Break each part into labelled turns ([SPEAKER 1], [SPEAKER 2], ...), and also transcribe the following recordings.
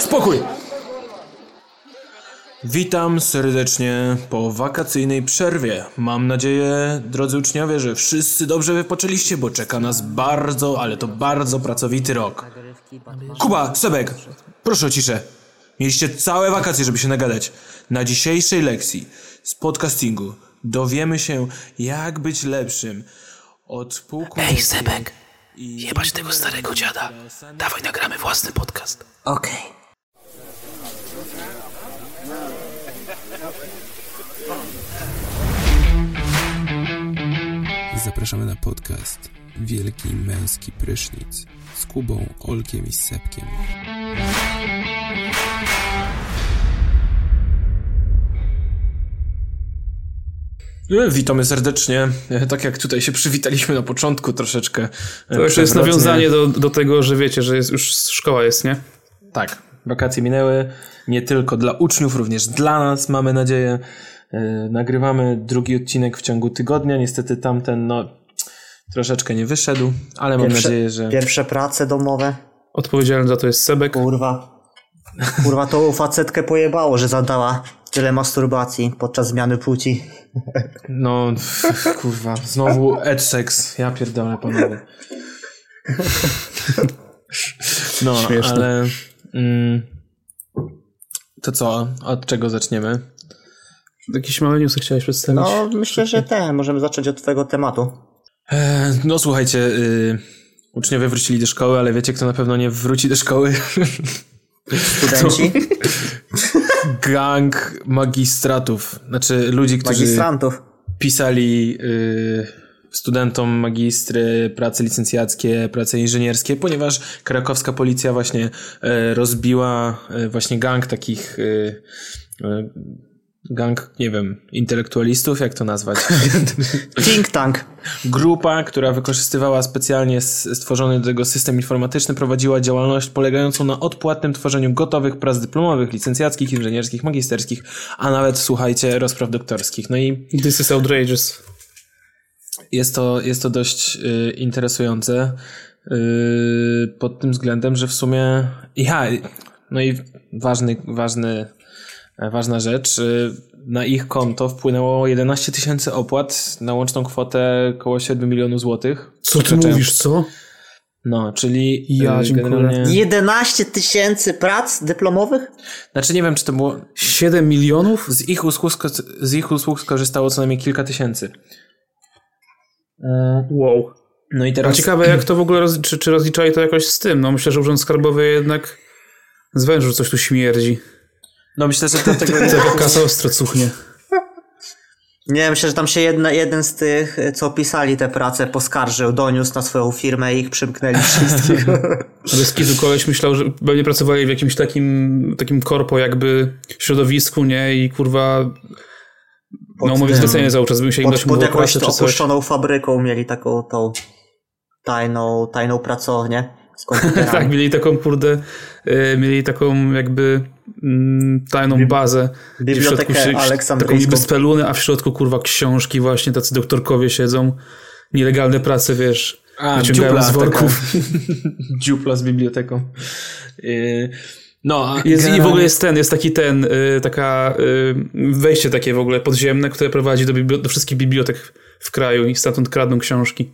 [SPEAKER 1] Spokój!
[SPEAKER 2] Witam serdecznie po wakacyjnej przerwie. Mam nadzieję, drodzy uczniowie, że wszyscy dobrze wypoczęliście, bo czeka nas bardzo, ale to bardzo pracowity rok. Kuba, Sebek, proszę o ciszę. Mieliście całe wakacje, żeby się nagadać. Na dzisiejszej lekcji z podcastingu dowiemy się, jak być lepszym od pułku...
[SPEAKER 3] Ej, Sebek,
[SPEAKER 2] i-
[SPEAKER 3] jebać tego starego dziada. Dawaj, nagramy własny podcast.
[SPEAKER 4] Okej.
[SPEAKER 5] Zapraszamy na podcast Wielki Męski Prysznic z Kubą, Olkiem i Sepkiem.
[SPEAKER 2] E, Witamy serdecznie. E, Tak jak tutaj się przywitaliśmy na początku troszeczkę. e,
[SPEAKER 6] To już jest
[SPEAKER 2] przewrotnie.
[SPEAKER 6] nawiązanie do, do tego, że wiecie, że jest, już szkoła jest, nie?
[SPEAKER 2] Tak, wakacje minęły. Nie tylko dla uczniów, również dla nas, mamy nadzieję. E, Nagrywamy drugi odcinek w ciągu tygodnia. Niestety tamten, no, troszeczkę nie wyszedł, ale mam nadzieję, że.
[SPEAKER 4] Pierwsze prace domowe.
[SPEAKER 6] Odpowiedzialny za to jest Sebek.
[SPEAKER 4] Kurwa. Kurwa, tą facetkę pojebało, że zadała tyle masturbacji podczas zmiany płci.
[SPEAKER 2] No, kurwa, znowu edsex. Ja pierdolę, panowie. No,
[SPEAKER 6] Śmieszne.
[SPEAKER 2] ale... Mm, to co? Od czego zaczniemy?
[SPEAKER 6] Jakiś mały newsy chciałeś przedstawić?
[SPEAKER 4] No, myślę, że te. Możemy zacząć od twojego tematu.
[SPEAKER 2] E, no, słuchajcie, y, uczniowie wrócili do szkoły, ale wiecie, kto na pewno nie wróci do szkoły?
[SPEAKER 4] Studenci,
[SPEAKER 2] Gang magistratów. Znaczy, ludzi, którzy
[SPEAKER 4] magistrantów.
[SPEAKER 2] pisali y, studentom magistry prace licencjackie, prace inżynierskie, ponieważ krakowska policja właśnie e, rozbiła e, właśnie gang takich y, y, gang, nie wiem, intelektualistów, jak to nazwać.
[SPEAKER 4] Think tank.
[SPEAKER 2] Grupa, która wykorzystywała specjalnie s- stworzony do tego system informatyczny, prowadziła działalność polegającą na odpłatnym tworzeniu gotowych prac dyplomowych, licencjackich, inżynierskich, magisterskich, a nawet, słuchajcie, rozpraw doktorskich. No i
[SPEAKER 6] This is outrageous.
[SPEAKER 2] jest to, jest to dość y, interesujące y, pod tym względem, że w sumie. Ja, no i ważny, ważny, e, ważna rzecz. Y, na ich konto wpłynęło 11 tysięcy opłat na łączną kwotę około 7 milionów złotych.
[SPEAKER 6] Co ty
[SPEAKER 2] Przepraszam.
[SPEAKER 6] mówisz, co?
[SPEAKER 2] No, czyli
[SPEAKER 6] Ja
[SPEAKER 2] y,
[SPEAKER 6] dziękuję.
[SPEAKER 4] 11 tysięcy prac dyplomowych?
[SPEAKER 2] Znaczy nie wiem, czy to było.
[SPEAKER 6] 7 milionów?
[SPEAKER 2] Z ich usług, sko- z ich usług skorzystało co najmniej kilka tysięcy. Y,
[SPEAKER 6] Wow.
[SPEAKER 2] No i
[SPEAKER 6] A
[SPEAKER 2] teraz.
[SPEAKER 6] ciekawe, jak to w ogóle, roz, czy, czy rozliczali to jakoś z tym? No myślę, że Urząd Skarbowy jednak z wężu coś tu śmierdzi.
[SPEAKER 2] No myślę, że dlatego.
[SPEAKER 6] Taka kasa ostro cuchnie.
[SPEAKER 4] Nie, myślę, że tam się jedna, jeden z tych, co pisali te prace, poskarżył, doniósł na swoją firmę i ich przymknęli wszystkich.
[SPEAKER 6] Bez kitu koleś myślał, że pewnie pracowali w jakimś takim, takim korpo jakby środowisku, nie? I kurwa... No
[SPEAKER 4] Pod
[SPEAKER 6] mówię
[SPEAKER 4] tym-
[SPEAKER 6] specjalnie cały czas, bym się im
[SPEAKER 4] pod,
[SPEAKER 6] dać
[SPEAKER 4] pod
[SPEAKER 6] mówiło
[SPEAKER 4] jakąś
[SPEAKER 6] pracę
[SPEAKER 4] to
[SPEAKER 6] czy coś.
[SPEAKER 4] opuszczoną fabryką mieli taką tą tajną, tajną pracownię z komputerami.
[SPEAKER 6] Tak, mieli taką kurde, y, mieli taką jakby mm, tajną bazę. gdzie w
[SPEAKER 4] Bibliotekę
[SPEAKER 6] środku się- Taką
[SPEAKER 4] aleksandryjską.
[SPEAKER 6] niby spelunę, a w środku kurwa książki właśnie, tacy doktorkowie siedzą. Nielegalne prace, wiesz,
[SPEAKER 2] A,
[SPEAKER 6] wyciągają
[SPEAKER 2] dziupla
[SPEAKER 6] z
[SPEAKER 2] taka.
[SPEAKER 6] worków.
[SPEAKER 2] dziupla z biblioteką. Yy, No, a
[SPEAKER 6] Jest, I w
[SPEAKER 2] generalnie-
[SPEAKER 6] ogóle jest ten, jest taki ten, y, taka y, wejście takie w ogóle podziemne, które prowadzi do, bibli- do wszystkich bibliotek w kraju i stamtąd kradną książki.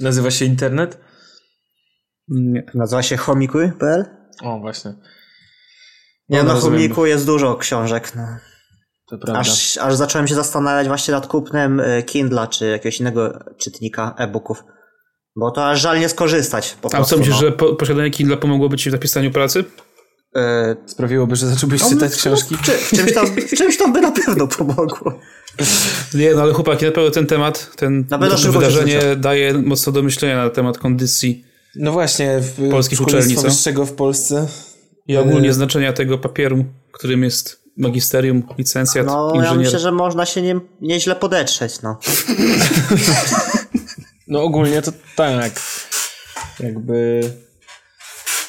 [SPEAKER 2] Nazywa się internet?
[SPEAKER 6] Nie.
[SPEAKER 4] Nazywa się chomikuj.pl?
[SPEAKER 2] O, właśnie.
[SPEAKER 6] No,
[SPEAKER 4] Nie,
[SPEAKER 2] Dobra,
[SPEAKER 4] na
[SPEAKER 2] rozumiem.
[SPEAKER 4] chomiku jest dużo książek. No.
[SPEAKER 2] To prawda.
[SPEAKER 4] Aż, aż zacząłem się zastanawiać właśnie nad kupnem e, Kindla czy jakiegoś innego czytnika e-booków. Bo to aż żal nie skorzystać. Po
[SPEAKER 6] A
[SPEAKER 4] prostu,
[SPEAKER 6] co myślisz,
[SPEAKER 4] no.
[SPEAKER 6] że po, posiadanie Kindle pomogłoby ci w napisaniu pracy?
[SPEAKER 4] E,
[SPEAKER 2] Sprawiłoby, że zacząłbyś czytać książki?
[SPEAKER 4] no, Czy, w czymś, tam, w czymś tam by na pewno pomogło.
[SPEAKER 6] Nie, no ale chłopaki, na pewno ten temat, ten
[SPEAKER 4] Na pewno
[SPEAKER 6] to
[SPEAKER 4] szybko się
[SPEAKER 6] wydarzenie daje mocno do myślenia na temat kondycji
[SPEAKER 2] No właśnie, w
[SPEAKER 6] Polskich
[SPEAKER 2] szkolnictwa
[SPEAKER 6] uczelni, co?
[SPEAKER 2] wyższego w Polsce.
[SPEAKER 6] i
[SPEAKER 4] Yy.
[SPEAKER 6] ogólnie znaczenia tego papieru, którym jest magisterium, licencjat,
[SPEAKER 4] No, ja
[SPEAKER 6] inżynier.
[SPEAKER 4] myślę, że można się nim nieźle podetrzeć, no.
[SPEAKER 2] No ogólnie to tak. Jakby...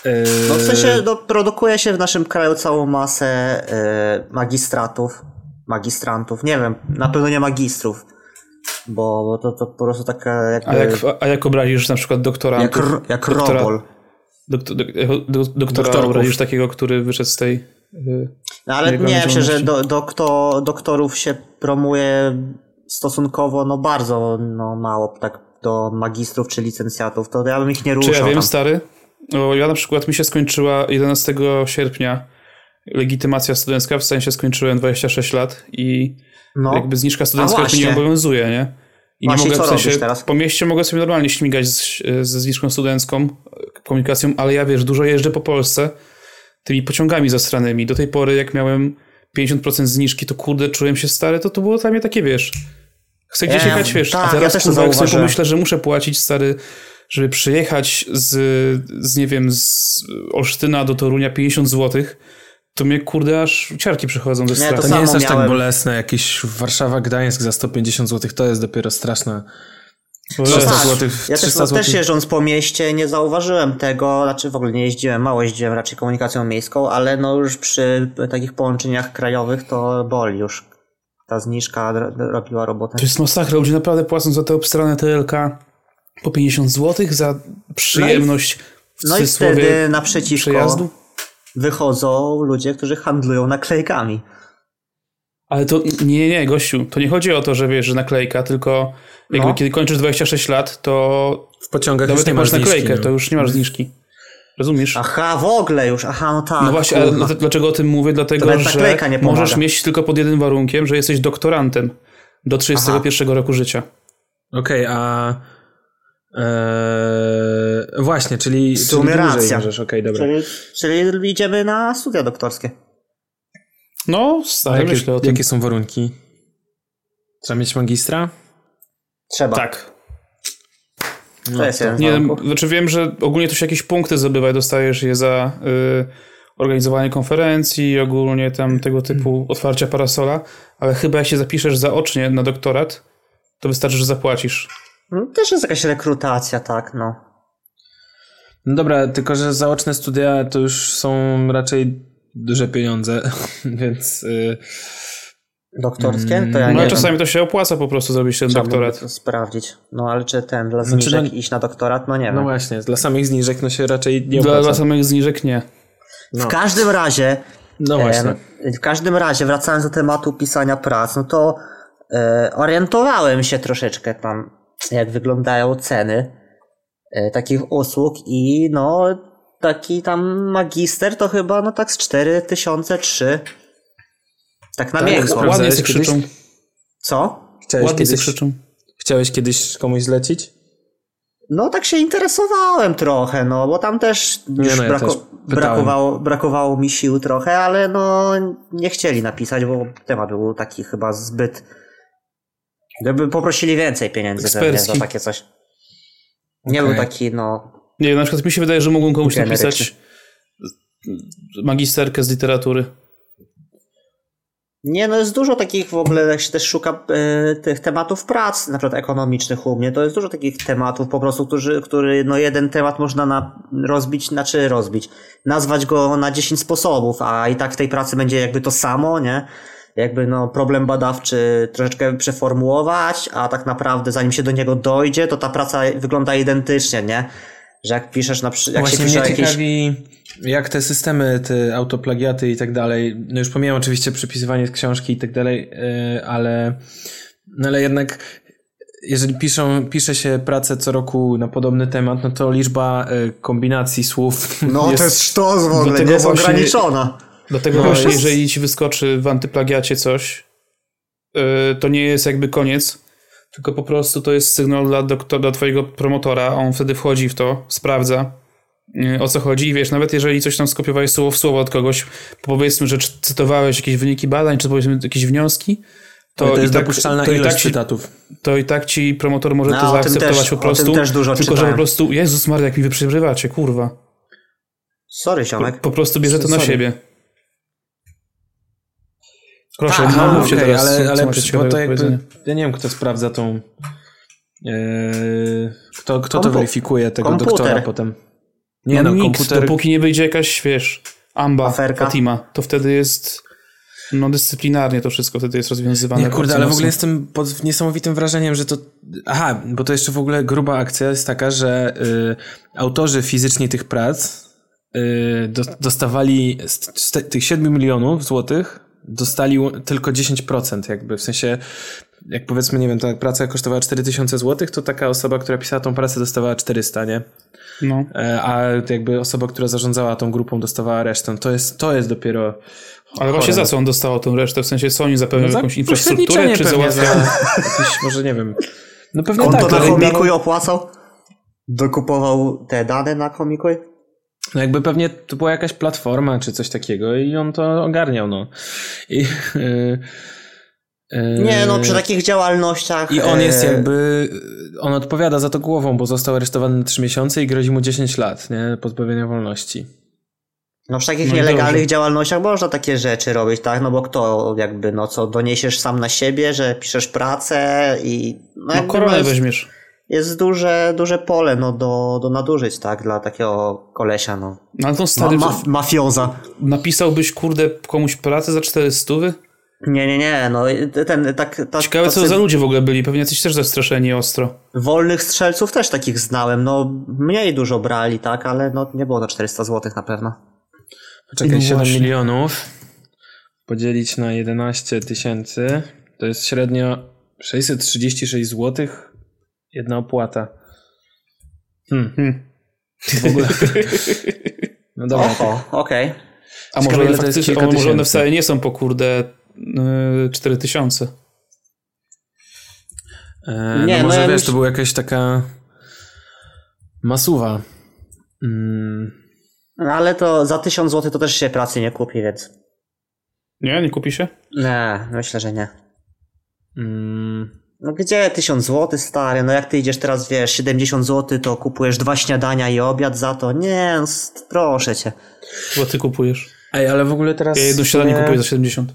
[SPEAKER 2] yy,
[SPEAKER 4] No w sensie no, produkuje się w naszym kraju całą masę yy, e, magistratów, magistrantów, nie wiem, na pewno nie magistrów. bo, bo to, to po prostu taka jakby,
[SPEAKER 6] A jak, a jak obrazisz na przykład doktora...
[SPEAKER 4] jak, r- jak
[SPEAKER 6] doktora-
[SPEAKER 4] robol.
[SPEAKER 6] Doktor, dok, do, doktora
[SPEAKER 2] Doktorków.
[SPEAKER 6] obrazisz takiego, który wyszedł z tej... y,
[SPEAKER 4] No, ale
[SPEAKER 6] jego
[SPEAKER 4] nie, myślę, że
[SPEAKER 6] niepełności.
[SPEAKER 4] do, dokto, doktorów się promuje stosunkowo no bardzo no, mało, tak do magistrów czy licencjatów, to ja bym ich nie
[SPEAKER 6] Czy
[SPEAKER 4] ruszał
[SPEAKER 6] ja wiem,
[SPEAKER 4] tam.
[SPEAKER 6] stary? Bo ja na przykład mi się skończyła 11 sierpnia legitymacja studencka, w sensie skończyłem 26 lat i
[SPEAKER 4] No.
[SPEAKER 6] jakby zniżka
[SPEAKER 4] A
[SPEAKER 6] studencka już mi nie
[SPEAKER 4] właśnie.
[SPEAKER 6] obowiązuje, nie? I
[SPEAKER 4] Właśnie,
[SPEAKER 6] nie mogę,
[SPEAKER 4] co
[SPEAKER 6] w sensie,
[SPEAKER 4] robisz teraz?
[SPEAKER 6] po mieście mogę sobie normalnie śmigać z, ze zniżką studencką, komunikacją, ale ja wiesz, dużo jeżdżę po Polsce tymi pociągami zastranymi. Do tej pory, jak miałem 50% zniżki, to kurde, czułem się stary, to to było dla mnie takie, wiesz, chcę gdzieś
[SPEAKER 4] Ja-
[SPEAKER 6] jechać, wiesz,
[SPEAKER 4] tak,
[SPEAKER 6] a teraz
[SPEAKER 4] ja też to
[SPEAKER 6] kurwa, jak sobie
[SPEAKER 4] zauważyłem.
[SPEAKER 6] pomyślę, że muszę płacić, stary, żeby przyjechać z, z nie wiem, z Olsztyna do Torunia 50 zł, to mnie kurde aż ciarki przychodzą ze
[SPEAKER 4] to
[SPEAKER 6] straty.
[SPEAKER 2] To nie
[SPEAKER 4] Samo
[SPEAKER 2] jest aż tak
[SPEAKER 4] miałem.
[SPEAKER 2] bolesne. Jakiś Warszawa-Gdańsk za 150 zł to jest dopiero straszne.
[SPEAKER 4] No
[SPEAKER 2] 300
[SPEAKER 4] tak.
[SPEAKER 2] zł.
[SPEAKER 4] Ja też,
[SPEAKER 2] 300
[SPEAKER 4] no, też
[SPEAKER 2] zł.
[SPEAKER 4] jeżdżąc po mieście nie zauważyłem tego, znaczy w ogóle nie jeździłem, mało jeździłem raczej komunikacją miejską, ale no już przy takich połączeniach krajowych to boli już. Ta zniżka dro- robiła robotę.
[SPEAKER 6] To jest masakra, ludzie naprawdę płacą za te obstrane TLK po 50 zł za przyjemność w
[SPEAKER 4] No i
[SPEAKER 6] cudzysłowie
[SPEAKER 4] wtedy naprzeciwko
[SPEAKER 6] przejazdu.
[SPEAKER 4] wychodzą ludzie, którzy handlują naklejkami.
[SPEAKER 6] Ale to nie, nie, nie, gościu, to nie chodzi o to, że wiesz, że naklejka, tylko jakby
[SPEAKER 4] No.
[SPEAKER 6] kiedy kończysz 26 lat, to
[SPEAKER 2] W pociągach
[SPEAKER 6] nawet
[SPEAKER 2] już nie
[SPEAKER 6] jak
[SPEAKER 2] masz
[SPEAKER 6] masz
[SPEAKER 2] zniżki.
[SPEAKER 6] naklejkę,
[SPEAKER 2] no.
[SPEAKER 6] to już nie masz zniżki. Rozumiesz?
[SPEAKER 4] Aha, w ogóle już, aha, no tak.
[SPEAKER 6] No właśnie, ale
[SPEAKER 4] kurwa.
[SPEAKER 6] d- dlaczego o tym mówię? Dlatego,
[SPEAKER 4] nawet
[SPEAKER 6] że
[SPEAKER 4] naklejka nie pomaga.
[SPEAKER 6] możesz mieć tylko pod jednym warunkiem, że jesteś doktorantem do 31 roku życia.
[SPEAKER 2] Okej, a... Eee, właśnie, czyli,
[SPEAKER 4] W
[SPEAKER 2] czyli
[SPEAKER 4] sumie
[SPEAKER 2] dłużej
[SPEAKER 4] racja.
[SPEAKER 2] możesz, okej, dobra.
[SPEAKER 4] Czyli, czyli idziemy na studia doktorskie.
[SPEAKER 6] No,
[SPEAKER 2] A
[SPEAKER 6] stary,
[SPEAKER 2] jakie,
[SPEAKER 6] myślę o tym.
[SPEAKER 2] jakie są warunki? Trzeba mieć magistra?
[SPEAKER 4] Trzeba.
[SPEAKER 6] Tak.
[SPEAKER 4] to jest jeden z
[SPEAKER 6] Nie,
[SPEAKER 4] warunków.
[SPEAKER 6] znaczy wiem, że ogólnie tu się jakieś punkty zdobywa i dostajesz je za y, organizowanie konferencji, ogólnie tam tego
[SPEAKER 2] Mm.
[SPEAKER 6] typu otwarcia parasola, ale chyba jak się zapiszesz zaocznie na doktorat, to wystarczy, że zapłacisz.
[SPEAKER 4] No, Też jest jakaś rekrutacja, tak, no.
[SPEAKER 2] No dobra, tylko że zaoczne studia to już są raczej duże pieniądze, więc y,
[SPEAKER 4] Doktorskie? To ja
[SPEAKER 6] No ale
[SPEAKER 4] nie wiem.
[SPEAKER 6] czasami to się opłaca po prostu zrobić ten
[SPEAKER 4] Trzeba
[SPEAKER 6] doktorat.
[SPEAKER 4] byłoby to sprawdzić. No ale czy ten dla
[SPEAKER 2] Znaczy,
[SPEAKER 4] zniżek
[SPEAKER 2] no-
[SPEAKER 4] iść na doktorat? No nie
[SPEAKER 2] no
[SPEAKER 4] wiem.
[SPEAKER 2] właśnie, dla samych zniżek no się raczej nie
[SPEAKER 6] Dla, dla
[SPEAKER 2] opłaca.
[SPEAKER 6] samych zniżek nie.
[SPEAKER 4] W każdym razie, E,
[SPEAKER 2] No właśnie.
[SPEAKER 4] em, w każdym razie, wracając do tematu pisania prac, no to e, orientowałem się troszeczkę tam, jak wyglądają ceny e, takich usług i no taki tam magister to chyba no tak z 4003 tak na
[SPEAKER 2] Tak?
[SPEAKER 4] miękko.
[SPEAKER 2] Sprawdzałeś
[SPEAKER 6] Ładnie się
[SPEAKER 2] kiedyś?
[SPEAKER 6] krzyczą.
[SPEAKER 4] Co?
[SPEAKER 2] Chciałeś
[SPEAKER 6] Ładnie się
[SPEAKER 2] kiedyś,
[SPEAKER 6] krzyczą.
[SPEAKER 2] chciałeś kiedyś komuś zlecić?
[SPEAKER 4] No tak się interesowałem trochę, no bo tam też już
[SPEAKER 2] no, ja
[SPEAKER 4] brako-
[SPEAKER 2] też pytałem.
[SPEAKER 4] brakowało, brakowało mi sił trochę, ale no nie chcieli napisać, bo temat był taki chyba zbyt... Gdyby poprosili więcej pieniędzy ze mnie za
[SPEAKER 6] Ekspercki.
[SPEAKER 4] takie coś. Nie
[SPEAKER 2] Okej.
[SPEAKER 4] był taki, no...
[SPEAKER 6] Nie, na przykład mi się wydaje, że mogą komuś
[SPEAKER 4] Generycznie.
[SPEAKER 6] napisać magisterkę z literatury.
[SPEAKER 4] Nie, no jest dużo takich w ogóle, jak się też szuka e, tych tematów prac, na przykład ekonomicznych u mnie, to jest dużo takich tematów po prostu, którzy, który, no jeden temat można na, rozbić, znaczy rozbić, nazwać go na 10 sposobów, a i tak w tej pracy będzie jakby to samo, nie? Jakby no problem badawczy troszeczkę przeformułować, a tak naprawdę zanim się do niego dojdzie, to ta praca wygląda identycznie, nie? Że jak piszesz na przy- jak
[SPEAKER 2] Właśnie
[SPEAKER 4] się
[SPEAKER 2] mnie
[SPEAKER 4] pisze jakieś...
[SPEAKER 2] ciekawi, jak te systemy, te autoplagiaty i tak dalej, no już pomijam oczywiście przypisywanie z książki i tak dalej, y, ale, no ale jednak jeżeli piszą, pisze się pracę co roku na podobny temat, no to liczba y, kombinacji słów
[SPEAKER 4] No to jest sztos w ogóle,
[SPEAKER 6] Dlatego
[SPEAKER 4] nie jest
[SPEAKER 6] właśnie-
[SPEAKER 4] ograniczona. No,
[SPEAKER 6] Dlatego właśnie, jeżeli ci wyskoczy w antyplagiacie coś, yy, to nie jest jakby koniec, tylko po prostu to jest sygnał dla, doktora, dla twojego promotora, a on wtedy wchodzi w to, sprawdza yy, o co chodzi i wiesz, nawet jeżeli coś tam skopiowałeś słowo w słowo od kogoś, powiedzmy, że czy- cytowałeś jakieś wyniki badań, czy powiedzmy jakieś wnioski, to,
[SPEAKER 2] to, to jest
[SPEAKER 6] i tak,
[SPEAKER 2] dopuszczalna
[SPEAKER 6] to i
[SPEAKER 2] ilość
[SPEAKER 6] tak ci,
[SPEAKER 2] cytatów.
[SPEAKER 6] To i tak ci promotor może
[SPEAKER 4] No,
[SPEAKER 6] to
[SPEAKER 4] o tym
[SPEAKER 6] zaakceptować
[SPEAKER 4] też-
[SPEAKER 6] po
[SPEAKER 4] o
[SPEAKER 6] prostu,
[SPEAKER 4] tym też dużo
[SPEAKER 6] tylko że
[SPEAKER 4] czytałem.
[SPEAKER 6] po prostu, Jezus Maria, jak mi wyprzerywacie, kurwa.
[SPEAKER 4] Sorry,
[SPEAKER 6] Po,
[SPEAKER 4] ziomek.
[SPEAKER 6] po prostu bierze to na
[SPEAKER 2] Sorry.
[SPEAKER 6] siebie. Proszę,
[SPEAKER 2] Tak,
[SPEAKER 6] no,
[SPEAKER 2] no,
[SPEAKER 6] mówcie
[SPEAKER 2] okej,
[SPEAKER 6] teraz, co-
[SPEAKER 2] ale,
[SPEAKER 6] co
[SPEAKER 2] ale
[SPEAKER 6] macie
[SPEAKER 2] bo
[SPEAKER 6] ciekawego
[SPEAKER 2] to
[SPEAKER 6] do
[SPEAKER 2] jakby,
[SPEAKER 6] powiedzenia.
[SPEAKER 2] ja nie wiem, kto sprawdza tą, yy, kto, kto to
[SPEAKER 4] Kompu-
[SPEAKER 2] weryfikuje, tego
[SPEAKER 4] komputer.
[SPEAKER 2] doktora potem. Nie no,
[SPEAKER 6] nikt,
[SPEAKER 2] komputer,
[SPEAKER 6] dopóki nie wyjdzie jakaś, wiesz, Amba,
[SPEAKER 4] Aferka.
[SPEAKER 6] Fatima, to wtedy jest no dyscyplinarnie to wszystko wtedy jest rozwiązywane.
[SPEAKER 2] Nie, kurde,
[SPEAKER 6] bardzo
[SPEAKER 2] ale w
[SPEAKER 6] mocno.
[SPEAKER 2] ogóle jestem pod niesamowitym wrażeniem, że to. Aha, bo to jeszcze w ogóle gruba akcja jest taka, że y, autorzy fizyczni tych prac y, do, dostawali z, z te, tych 7 milionów złotych, dostali ł- tylko 10%, jakby w sensie. Jak powiedzmy, nie wiem, ta praca kosztowała 4000 złotych, to taka osoba, która pisała tą pracę, dostawała 400, nie?
[SPEAKER 6] No.
[SPEAKER 2] E, A jakby osoba, która zarządzała tą grupą, dostawała resztę. To jest, to jest dopiero.
[SPEAKER 6] Ale właśnie za co on dostał tą resztę? W sensie, co oni zapewnią
[SPEAKER 2] No za
[SPEAKER 6] jakąś infrastrukturę,
[SPEAKER 2] pośredniczenie
[SPEAKER 6] czy
[SPEAKER 2] pewnie
[SPEAKER 6] załatwiają?
[SPEAKER 2] za Jakieś, może nie wiem. No pewnie
[SPEAKER 4] On
[SPEAKER 2] tak.
[SPEAKER 4] to na
[SPEAKER 2] ale-
[SPEAKER 4] komiku opłacał? Dokupował te dane na komiku?
[SPEAKER 2] No jakby pewnie to była jakaś platforma czy coś takiego i on to ogarniał, no. I, yy, yy,
[SPEAKER 4] Nie, no przy takich działalnościach.
[SPEAKER 2] I on jest
[SPEAKER 4] e,
[SPEAKER 2] jakby, on odpowiada za to głową, bo został aresztowany na 3 miesiące i grozi mu 10 lat, nie? Pozbawienia wolności.
[SPEAKER 4] No przy takich
[SPEAKER 6] No i
[SPEAKER 4] nielegalnych
[SPEAKER 6] dobrze.
[SPEAKER 4] działalnościach można takie rzeczy robić, tak? No bo kto jakby, no co, doniesiesz sam na siebie, że piszesz pracę i...
[SPEAKER 6] No
[SPEAKER 4] jakby,
[SPEAKER 6] koronę
[SPEAKER 4] jest,
[SPEAKER 6] weźmiesz.
[SPEAKER 4] jest duże, duże pole, no do, do nadużyć, tak? Dla takiego kolesia, no.
[SPEAKER 6] No to
[SPEAKER 4] Ma,
[SPEAKER 6] stary,
[SPEAKER 4] maf, mafioza.
[SPEAKER 6] napisałbyś, kurde, komuś pracę za 400?
[SPEAKER 4] Nie, nie, nie, no i ten, tak... Ta,
[SPEAKER 6] Ciekawe, co
[SPEAKER 4] tacy
[SPEAKER 6] za ludzie w ogóle byli. Pewnie jacyś też zastraszeni ostro.
[SPEAKER 4] Wolnych strzelców też takich znałem, no mniej dużo brali, tak? Ale no nie było na 400 zł na pewno.
[SPEAKER 2] Poczekaj,
[SPEAKER 6] No
[SPEAKER 2] 7
[SPEAKER 6] właśnie.
[SPEAKER 2] milionów podzielić na 11 tysięcy, to jest średnio 636 zł jedna opłata. Hmm.
[SPEAKER 6] Hmm.
[SPEAKER 2] W ogóle. No dobra,
[SPEAKER 4] Oho, okej.
[SPEAKER 6] A
[SPEAKER 2] Ciekawe,
[SPEAKER 6] może one,
[SPEAKER 2] ile to jest
[SPEAKER 6] faktycznie,
[SPEAKER 2] kilka
[SPEAKER 6] a może one
[SPEAKER 2] tysięcy.
[SPEAKER 6] wcale nie są po, kurde, yy, 4000.
[SPEAKER 2] E, no
[SPEAKER 4] Nie, no
[SPEAKER 2] może
[SPEAKER 4] ja
[SPEAKER 2] wiesz,
[SPEAKER 4] myśl-
[SPEAKER 2] to była jakaś taka masuwa. Mm,
[SPEAKER 4] No Ale to za 1000 zł to też się pracy nie kupi, więc...
[SPEAKER 6] Nie, nie kupi się?
[SPEAKER 4] Nie, myślę, że nie.
[SPEAKER 2] mm,
[SPEAKER 4] No gdzie 1000 zł stary, no jak ty idziesz teraz, wiesz, 70 zł, to kupujesz dwa śniadania i obiad za to. Nie, no, s- proszę cię.
[SPEAKER 6] Chyba ty kupujesz.
[SPEAKER 2] Ej, ale w ogóle teraz
[SPEAKER 6] Ja jedno
[SPEAKER 2] w
[SPEAKER 6] śniadanie
[SPEAKER 2] sumie-
[SPEAKER 6] kupuję za 70.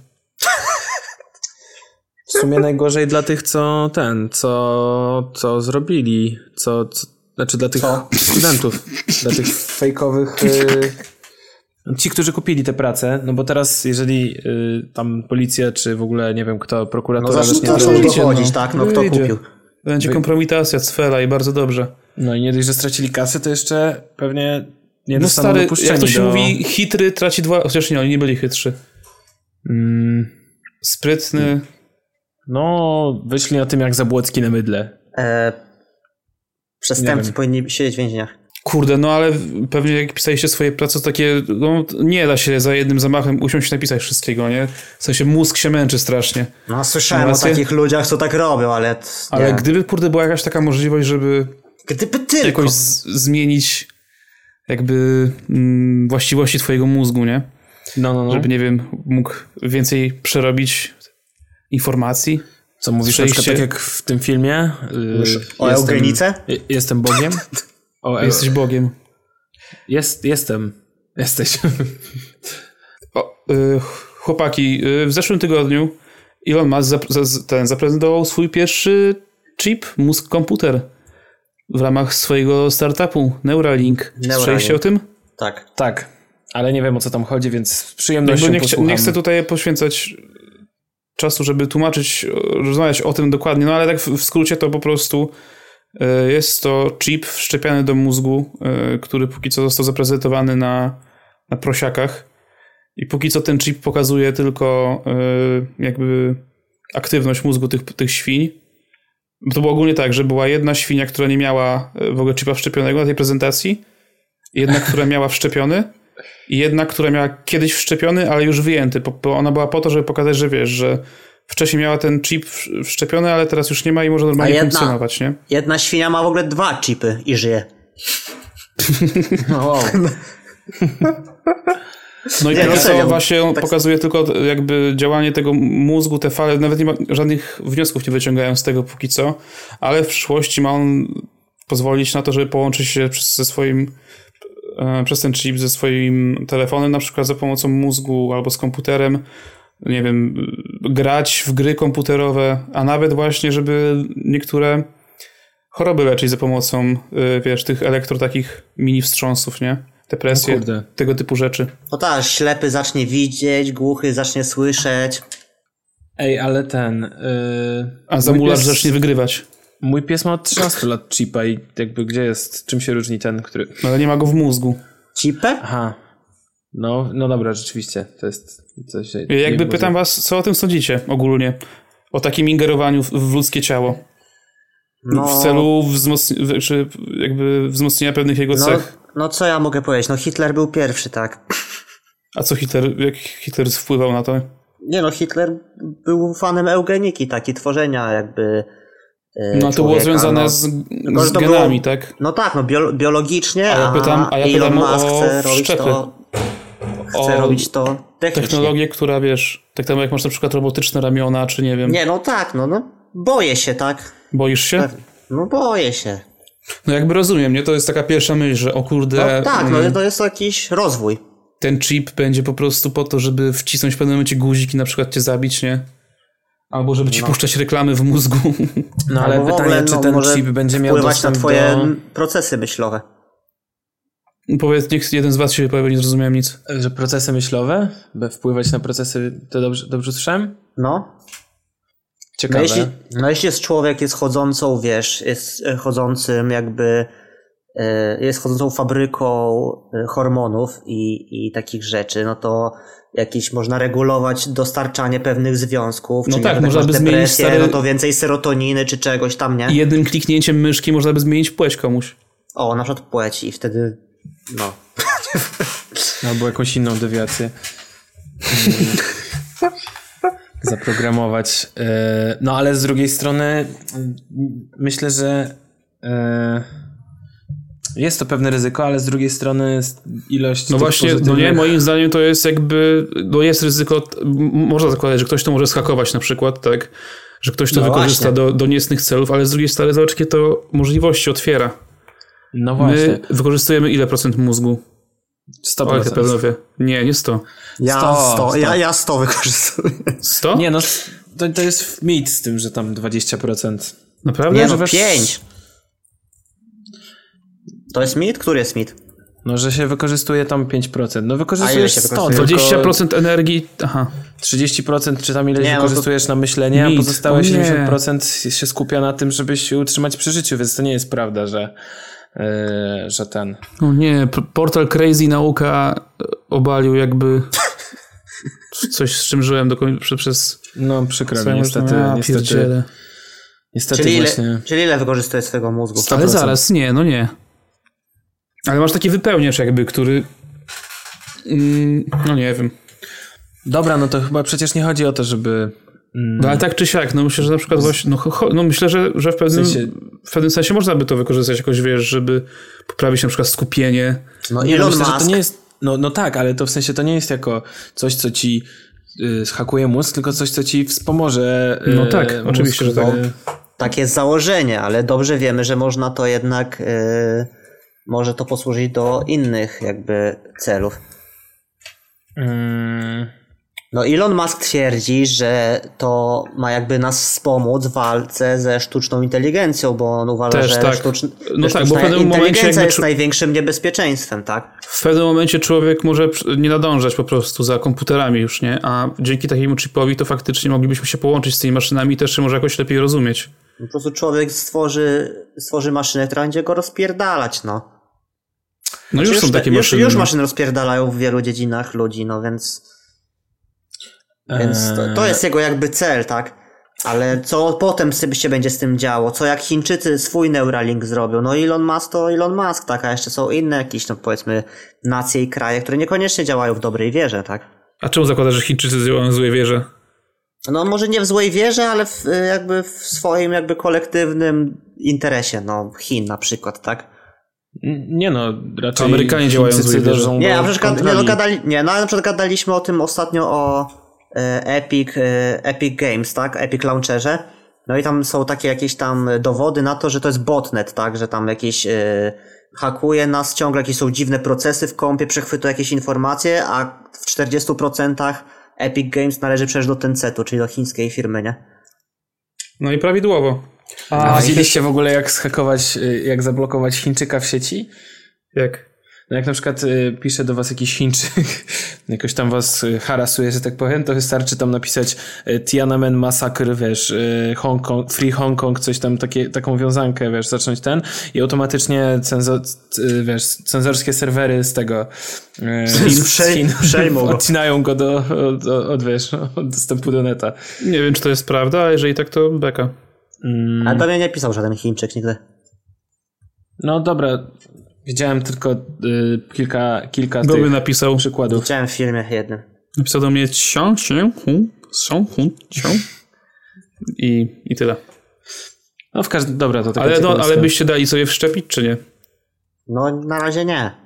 [SPEAKER 2] W sumie najgorzej dla tych, co ten, co, co zrobili, co, co znaczy dla tych studentów, dla tych fejkowych. y, Ci, którzy kupili te prace, no bo teraz, jeżeli y, tam policja, czy w ogóle nie wiem kto, prokuratura
[SPEAKER 6] No
[SPEAKER 4] Zacznij
[SPEAKER 2] zacznie
[SPEAKER 4] to
[SPEAKER 2] robić-
[SPEAKER 4] zacząć
[SPEAKER 6] wyjdzie,
[SPEAKER 4] dochodzić,
[SPEAKER 6] no.
[SPEAKER 4] tak, no kto
[SPEAKER 6] Wyjdzie.
[SPEAKER 4] kupił.
[SPEAKER 6] Będzie kompromitacja, cfela i bardzo dobrze.
[SPEAKER 2] No i nie dość, że stracili kasę, to jeszcze pewnie nie
[SPEAKER 6] No
[SPEAKER 2] dostaną
[SPEAKER 6] stary,
[SPEAKER 2] dopuszczenia
[SPEAKER 6] jak to się
[SPEAKER 2] do...
[SPEAKER 6] mówi, hitry traci dwa... Chociaż nie, oni nie byli chytrzy.
[SPEAKER 2] Mm,
[SPEAKER 6] Sprytny...
[SPEAKER 2] no, wyszli na tym jak zabłocki na mydle.
[SPEAKER 4] E,
[SPEAKER 2] Nie
[SPEAKER 4] przestępcy
[SPEAKER 2] wiem.
[SPEAKER 4] powinni siedzieć w więzieniach.
[SPEAKER 6] Kurde, no ale w- pewnie jak pisaliście swoje prace, to takie, no nie da się za jednym zamachem usiąść i napisać wszystkiego, nie? W sensie mózg się męczy strasznie.
[SPEAKER 4] No słyszałem
[SPEAKER 6] No,
[SPEAKER 4] o
[SPEAKER 6] rację.
[SPEAKER 4] takich ludziach, co tak robią, ale... t-
[SPEAKER 6] Ale
[SPEAKER 4] nie.
[SPEAKER 6] gdyby, kurde, była jakaś taka możliwość, żeby
[SPEAKER 4] Gdyby tylko...
[SPEAKER 6] jakoś z- zmienić jakby mm, właściwości twojego mózgu, nie?
[SPEAKER 2] No, no, no.
[SPEAKER 6] Żeby, nie wiem, mógł więcej przerobić informacji.
[SPEAKER 2] Co mówisz, na przykład tak
[SPEAKER 6] Przejście-
[SPEAKER 2] jak w tym filmie? Yy,
[SPEAKER 4] o eugenice?
[SPEAKER 2] Jestem, je- jestem Bogiem? O, e,
[SPEAKER 6] Jesteś Bogiem.
[SPEAKER 2] jest, jestem. Jesteś.
[SPEAKER 6] O, y, ch- chłopaki, y, w zeszłym tygodniu Elon Musk zap, za- z- ten, zaprezentował swój pierwszy chip, mózg komputer w ramach swojego startupu Neuralink.
[SPEAKER 4] Neuralink.
[SPEAKER 6] Słyszeliście o tym?
[SPEAKER 4] Tak.
[SPEAKER 2] tak, ale nie wiem o co tam chodzi, więc z przyjemnością
[SPEAKER 6] Jakby nie, chcia,
[SPEAKER 2] posłucham.
[SPEAKER 6] nie chcę tutaj poświęcać czasu, żeby tłumaczyć, o- rozmawiać o tym dokładnie, no ale tak w, w skrócie to po prostu y, jest to chip wszczepiany do mózgu, y, który póki co został zaprezentowany na, na prosiakach i póki co ten chip pokazuje tylko y, jakby aktywność mózgu tych, tych świń. Bo To było ogólnie tak, że była jedna świnia, która nie miała y, w ogóle chipa wszczepionego na tej prezentacji, jedna, która miała wszczepiony i jedna, która miała kiedyś wszczepiony, ale już wyjęty, bo- bo ona była po to, żeby pokazać, że wiesz, że wcześniej miała ten chip w- wszczepiony, ale teraz już nie ma i może normalnie
[SPEAKER 4] A jedna-
[SPEAKER 6] funkcjonować, nie?
[SPEAKER 4] Jedna świnia ma w ogóle dwa chipy i żyje.
[SPEAKER 6] No i
[SPEAKER 4] Nie,
[SPEAKER 6] póki
[SPEAKER 4] no
[SPEAKER 6] co
[SPEAKER 4] serio,
[SPEAKER 6] właśnie on
[SPEAKER 4] tak-
[SPEAKER 6] pokazuje tylko jakby działanie tego mózgu, te fale, nawet nie ma żadnych wniosków nie wyciągają z tego póki co, ale w przyszłości ma on pozwolić na to, żeby połączyć się przez, ze swoim e, przez ten chip ze swoim telefonem, na przykład za pomocą mózgu albo z komputerem, nie wiem, grać w gry komputerowe, a nawet właśnie, żeby niektóre e, choroby leczyć za pomocą, y, wiesz, tych elektro takich mini wstrząsów, nie? depresję,
[SPEAKER 2] Kurde.
[SPEAKER 6] tego typu rzeczy.
[SPEAKER 4] No tak, ślepy zacznie widzieć, głuchy zacznie słyszeć.
[SPEAKER 2] Ej, ale ten... Yy,
[SPEAKER 6] A zamularz
[SPEAKER 2] mój pies-
[SPEAKER 6] zacznie wygrywać.
[SPEAKER 2] Mój pies ma od 13 lat chipa i jakby gdzie jest, czym się różni ten, który...
[SPEAKER 6] No ale nie ma go w mózgu.
[SPEAKER 4] Cipę?
[SPEAKER 2] Aha. No, no dobra, rzeczywiście. To jest coś...
[SPEAKER 6] Ja Jakby pytam was, co o tym sądzicie ogólnie? O takim ingerowaniu w, w ludzkie ciało.
[SPEAKER 4] No,
[SPEAKER 6] W celu wzmocn- w- czy jakby wzmocnienia pewnych jego
[SPEAKER 4] no,
[SPEAKER 6] cech.
[SPEAKER 4] no co ja mogę powiedzieć? No Hitler był pierwszy, tak.
[SPEAKER 6] A co Hitler, jak Hitler wpływał na to?
[SPEAKER 4] Nie no, Hitler był fanem eugeniki, taki tworzenia jakby e,
[SPEAKER 6] No to było
[SPEAKER 4] człowieka,
[SPEAKER 6] związane
[SPEAKER 4] no.
[SPEAKER 6] z,
[SPEAKER 4] że
[SPEAKER 6] z
[SPEAKER 4] to
[SPEAKER 6] genami,
[SPEAKER 4] było-
[SPEAKER 6] tak?
[SPEAKER 4] No tak, no bio, biologicznie,
[SPEAKER 6] A
[SPEAKER 4] a,
[SPEAKER 6] ja pytam- a ja
[SPEAKER 4] Elon
[SPEAKER 6] pytam o
[SPEAKER 4] Musk chce robić
[SPEAKER 6] wszczepy.
[SPEAKER 4] to... Chce
[SPEAKER 6] O
[SPEAKER 4] robić to technicznie.
[SPEAKER 6] Technologię, która wiesz, tak samo jak masz na przykład robotyczne ramiona, czy nie wiem,
[SPEAKER 4] Nie, no tak, no, no boję się, tak?
[SPEAKER 6] boisz się?
[SPEAKER 4] No boję się.
[SPEAKER 6] No jakby rozumiem, nie? To jest taka pierwsza myśl, że o
[SPEAKER 4] No
[SPEAKER 6] kurde,
[SPEAKER 4] tak,
[SPEAKER 6] mm,
[SPEAKER 4] no to jest jakiś rozwój.
[SPEAKER 6] ten chip będzie po prostu po to, żeby wcisnąć w pewnym momencie guzik i na przykład cię zabić, nie? Albo żeby ci
[SPEAKER 4] No.
[SPEAKER 6] puszczać reklamy w mózgu.
[SPEAKER 2] No ale
[SPEAKER 4] Albo w
[SPEAKER 2] pytanie,
[SPEAKER 4] ogóle,
[SPEAKER 2] czy
[SPEAKER 4] no,
[SPEAKER 2] ten
[SPEAKER 4] może
[SPEAKER 2] chip będzie miał
[SPEAKER 4] Wpływać na
[SPEAKER 2] dostęp
[SPEAKER 4] twoje
[SPEAKER 2] do...
[SPEAKER 4] m, procesy myślowe.
[SPEAKER 6] Powiedz, niech jeden z was się wypowie, nie zrozumiałem nic.
[SPEAKER 2] Że procesy myślowe? By wpływać na procesy... To dobrze, dobrze słyszałem?
[SPEAKER 4] No. No
[SPEAKER 2] Ciekawe.
[SPEAKER 4] jeśli, no jeśli jest człowiek, jest chodzącą, wiesz, jest e, chodzącym jakby, e, jest chodzącą fabryką e, hormonów i, i takich rzeczy, no to jakieś można regulować dostarczanie pewnych związków,
[SPEAKER 6] No
[SPEAKER 4] czy
[SPEAKER 6] tak,
[SPEAKER 4] jak
[SPEAKER 6] można
[SPEAKER 4] masz
[SPEAKER 6] by zmienić
[SPEAKER 4] depresję,
[SPEAKER 6] stary-
[SPEAKER 4] no to więcej serotoniny czy czegoś tam, nie?
[SPEAKER 6] I jednym kliknięciem myszki można by zmienić płeć komuś.
[SPEAKER 4] O, na przykład płeć i wtedy, no.
[SPEAKER 2] Albo jakąś inną dewiację. Mm. Zaprogramować. E, No ale z drugiej strony mm, myślę, że e, jest to pewne ryzyko, ale z drugiej strony s- ilość.
[SPEAKER 6] No
[SPEAKER 2] tych
[SPEAKER 6] właśnie, no
[SPEAKER 2] pozytywnych-
[SPEAKER 6] nie, moim zdaniem to jest jakby, no jest ryzyko, t- m- można zakładać, że ktoś to może skakować na przykład, tak? Że ktoś to
[SPEAKER 4] No
[SPEAKER 6] wykorzysta
[SPEAKER 4] właśnie.
[SPEAKER 6] do, do niecnych celów, ale z drugiej strony zobacz, jakie to możliwości otwiera.
[SPEAKER 2] No właśnie.
[SPEAKER 6] My wykorzystujemy ile procent mózgu? O, jak
[SPEAKER 2] 100%.
[SPEAKER 6] na pewno wie. Nie, nie 100.
[SPEAKER 4] Ja
[SPEAKER 2] Sto,
[SPEAKER 4] 100,
[SPEAKER 2] sto.
[SPEAKER 4] Ja, ja 100 wykorzystuję.
[SPEAKER 6] 100?
[SPEAKER 2] Nie no, to, to jest mit z tym, że tam 20%.
[SPEAKER 6] Naprawdę?
[SPEAKER 4] Nie
[SPEAKER 6] Że
[SPEAKER 4] no,
[SPEAKER 6] wiesz-
[SPEAKER 4] 5. To jest mit? Który jest mit?
[SPEAKER 2] No, że się wykorzystuje tam 5%. No
[SPEAKER 4] A ile
[SPEAKER 2] wykorzystujesz
[SPEAKER 4] się
[SPEAKER 2] 100,
[SPEAKER 4] wykorzystuje?
[SPEAKER 2] tylko
[SPEAKER 6] 20% energii, aha.
[SPEAKER 2] 30% czy tam ileś
[SPEAKER 4] Nie, no to-
[SPEAKER 2] wykorzystujesz na myślenie,
[SPEAKER 6] Nic,
[SPEAKER 2] a pozostałe
[SPEAKER 6] o nie.
[SPEAKER 2] 70% się skupia na tym, żeby się utrzymać przy życiu, więc to nie jest prawda, że, yy, że ten.
[SPEAKER 6] No nie, p- portal Crazy Nauka e, obalił jakby coś, z czym żyłem do końca, przez, przez
[SPEAKER 2] No przykro mi,
[SPEAKER 6] całe-
[SPEAKER 2] niestety,
[SPEAKER 6] A,
[SPEAKER 2] niestety,
[SPEAKER 6] pierdziele.
[SPEAKER 2] niestety
[SPEAKER 4] Czyli ile,
[SPEAKER 2] właśnie.
[SPEAKER 4] czyli ile wykorzystuje swojego mózgu?
[SPEAKER 6] Ale zaraz, nie, no nie. Ale masz taki wypełniacz jakby, który... Mm, no nie wiem.
[SPEAKER 2] Dobra, no to chyba przecież nie chodzi o to, żeby
[SPEAKER 6] No ale tak czy siak, no myślę, że na przykład właśnie, no, cho- cho, no myślę, że, że w, pewnym,
[SPEAKER 2] sensie-
[SPEAKER 4] Mm,
[SPEAKER 6] w pewnym sensie można by to wykorzystać jakoś, wiesz, żeby poprawić na przykład skupienie.
[SPEAKER 4] No
[SPEAKER 2] Nie, no
[SPEAKER 4] Elon
[SPEAKER 2] myślę,
[SPEAKER 4] Musk.
[SPEAKER 2] że to nie jest. No, no tak, ale to w sensie to nie jest jako coś, co ci y, hakuje mózg, tylko coś, co ci wspomoże. y,
[SPEAKER 6] No tak,
[SPEAKER 2] mózg,
[SPEAKER 6] oczywiście, że tak.
[SPEAKER 2] y,
[SPEAKER 4] Takie jest założenie, ale dobrze wiemy, że można to jednak, y, może to posłużyć do innych jakby celów.
[SPEAKER 2] mm,
[SPEAKER 4] No Elon Musk twierdzi, że to ma jakby nas wspomóc w walce ze sztuczną inteligencją, bo on uważa,
[SPEAKER 6] Też
[SPEAKER 4] że
[SPEAKER 6] tak.
[SPEAKER 4] sztuczn-
[SPEAKER 6] No
[SPEAKER 4] że
[SPEAKER 6] tak, bo w
[SPEAKER 4] sztuczna
[SPEAKER 6] pewnym momencie
[SPEAKER 4] inteligencja
[SPEAKER 6] jakby
[SPEAKER 4] jest
[SPEAKER 6] czu-
[SPEAKER 4] największym niebezpieczeństwem, tak?
[SPEAKER 6] W pewnym momencie człowiek może przy- nie nadążać po prostu za komputerami już, nie? A dzięki takiemu chipowi to faktycznie moglibyśmy się połączyć z tymi maszynami i też się może jakoś lepiej rozumieć.
[SPEAKER 4] Po prostu człowiek stworzy, stworzy maszynę, która będzie go rozpierdalać, no.
[SPEAKER 6] No już, są
[SPEAKER 4] te-
[SPEAKER 6] takie
[SPEAKER 4] Znaczy, już,
[SPEAKER 6] maszyny.
[SPEAKER 4] Już maszyny rozpierdalają w wielu dziedzinach ludzi, no więc, więc
[SPEAKER 2] E,
[SPEAKER 4] to,
[SPEAKER 6] Eee.
[SPEAKER 4] to jest jego jakby cel, tak? Ale co potem sobie się będzie z tym działo? Co jak Chińczycy swój Neuralink zrobią? No Elon Musk to Elon Musk, tak? A jeszcze są inne jakieś, no powiedzmy, nacje i kraje, które niekoniecznie działają w dobrej wierze, tak?
[SPEAKER 6] A czemu zakładasz, że Chińczycy zją złe wieże?
[SPEAKER 4] No może nie w złej wierze, ale w, y, jakby w swoim jakby kolektywnym interesie, no Chin na przykład, tak?
[SPEAKER 2] N- Nie no, raczej
[SPEAKER 6] Amerykanie działają
[SPEAKER 2] Chińczycy
[SPEAKER 6] złej wierze.
[SPEAKER 2] dążą
[SPEAKER 4] Nie,
[SPEAKER 2] do
[SPEAKER 4] na przykład, nie, no,
[SPEAKER 2] kontroli.
[SPEAKER 4] gadali, nie, no, na przykład gadaliśmy o tym ostatnio o e, Epic, e, Epic Games, tak? Epic Launcherze. No i tam są takie jakieś tam dowody na to, że to jest botnet, tak? Że tam jakieś e, hakuje nas ciągle, jakieś są dziwne procesy w kompie, przechwytuje jakieś informacje, a w 40% Epic Games należy przecież do Tencetu, czyli do chińskiej firmy, nie?
[SPEAKER 6] No i prawidłowo.
[SPEAKER 2] A widzieliście w ogóle jak zhakować, y, jak zablokować Chińczyka w sieci?
[SPEAKER 6] Jak?
[SPEAKER 2] No jak na przykład y, pisze do was jakiś Chińczyk, jakoś tam was y, harasuje, że tak powiem, to wystarczy tam napisać y, Tiananmen Massacre, wiesz, y, Hong Kong, Free Hong Kong, coś tam, takie, taką wiązankę, wiesz, zacząć ten i automatycznie cenzo, c- y, wiesz, cenzorskie serwery z tego y,
[SPEAKER 4] Z przej- przejmą go.
[SPEAKER 2] odcinają go do, od, od, od, wiesz, od dostępu do neta.
[SPEAKER 6] Nie wiem, czy to jest prawda, ale jeżeli tak, to beka.
[SPEAKER 4] Ale do mnie nie pisał żaden Chińczyk nigdy.
[SPEAKER 2] No dobra, widziałem tylko y, kilka, kilka
[SPEAKER 6] Kto by
[SPEAKER 2] tych
[SPEAKER 6] napisał?
[SPEAKER 2] przykładów.
[SPEAKER 4] Widziałem w filmie jednym.
[SPEAKER 6] Napisał do mnie sią, sią, hu, sią, hu, sią. I, I tyle.
[SPEAKER 2] No w każdym, dobra, to taka
[SPEAKER 6] Ale, no,
[SPEAKER 2] ciekawostka.
[SPEAKER 6] ale byście dali sobie wszczepić, czy nie?
[SPEAKER 4] No na razie nie.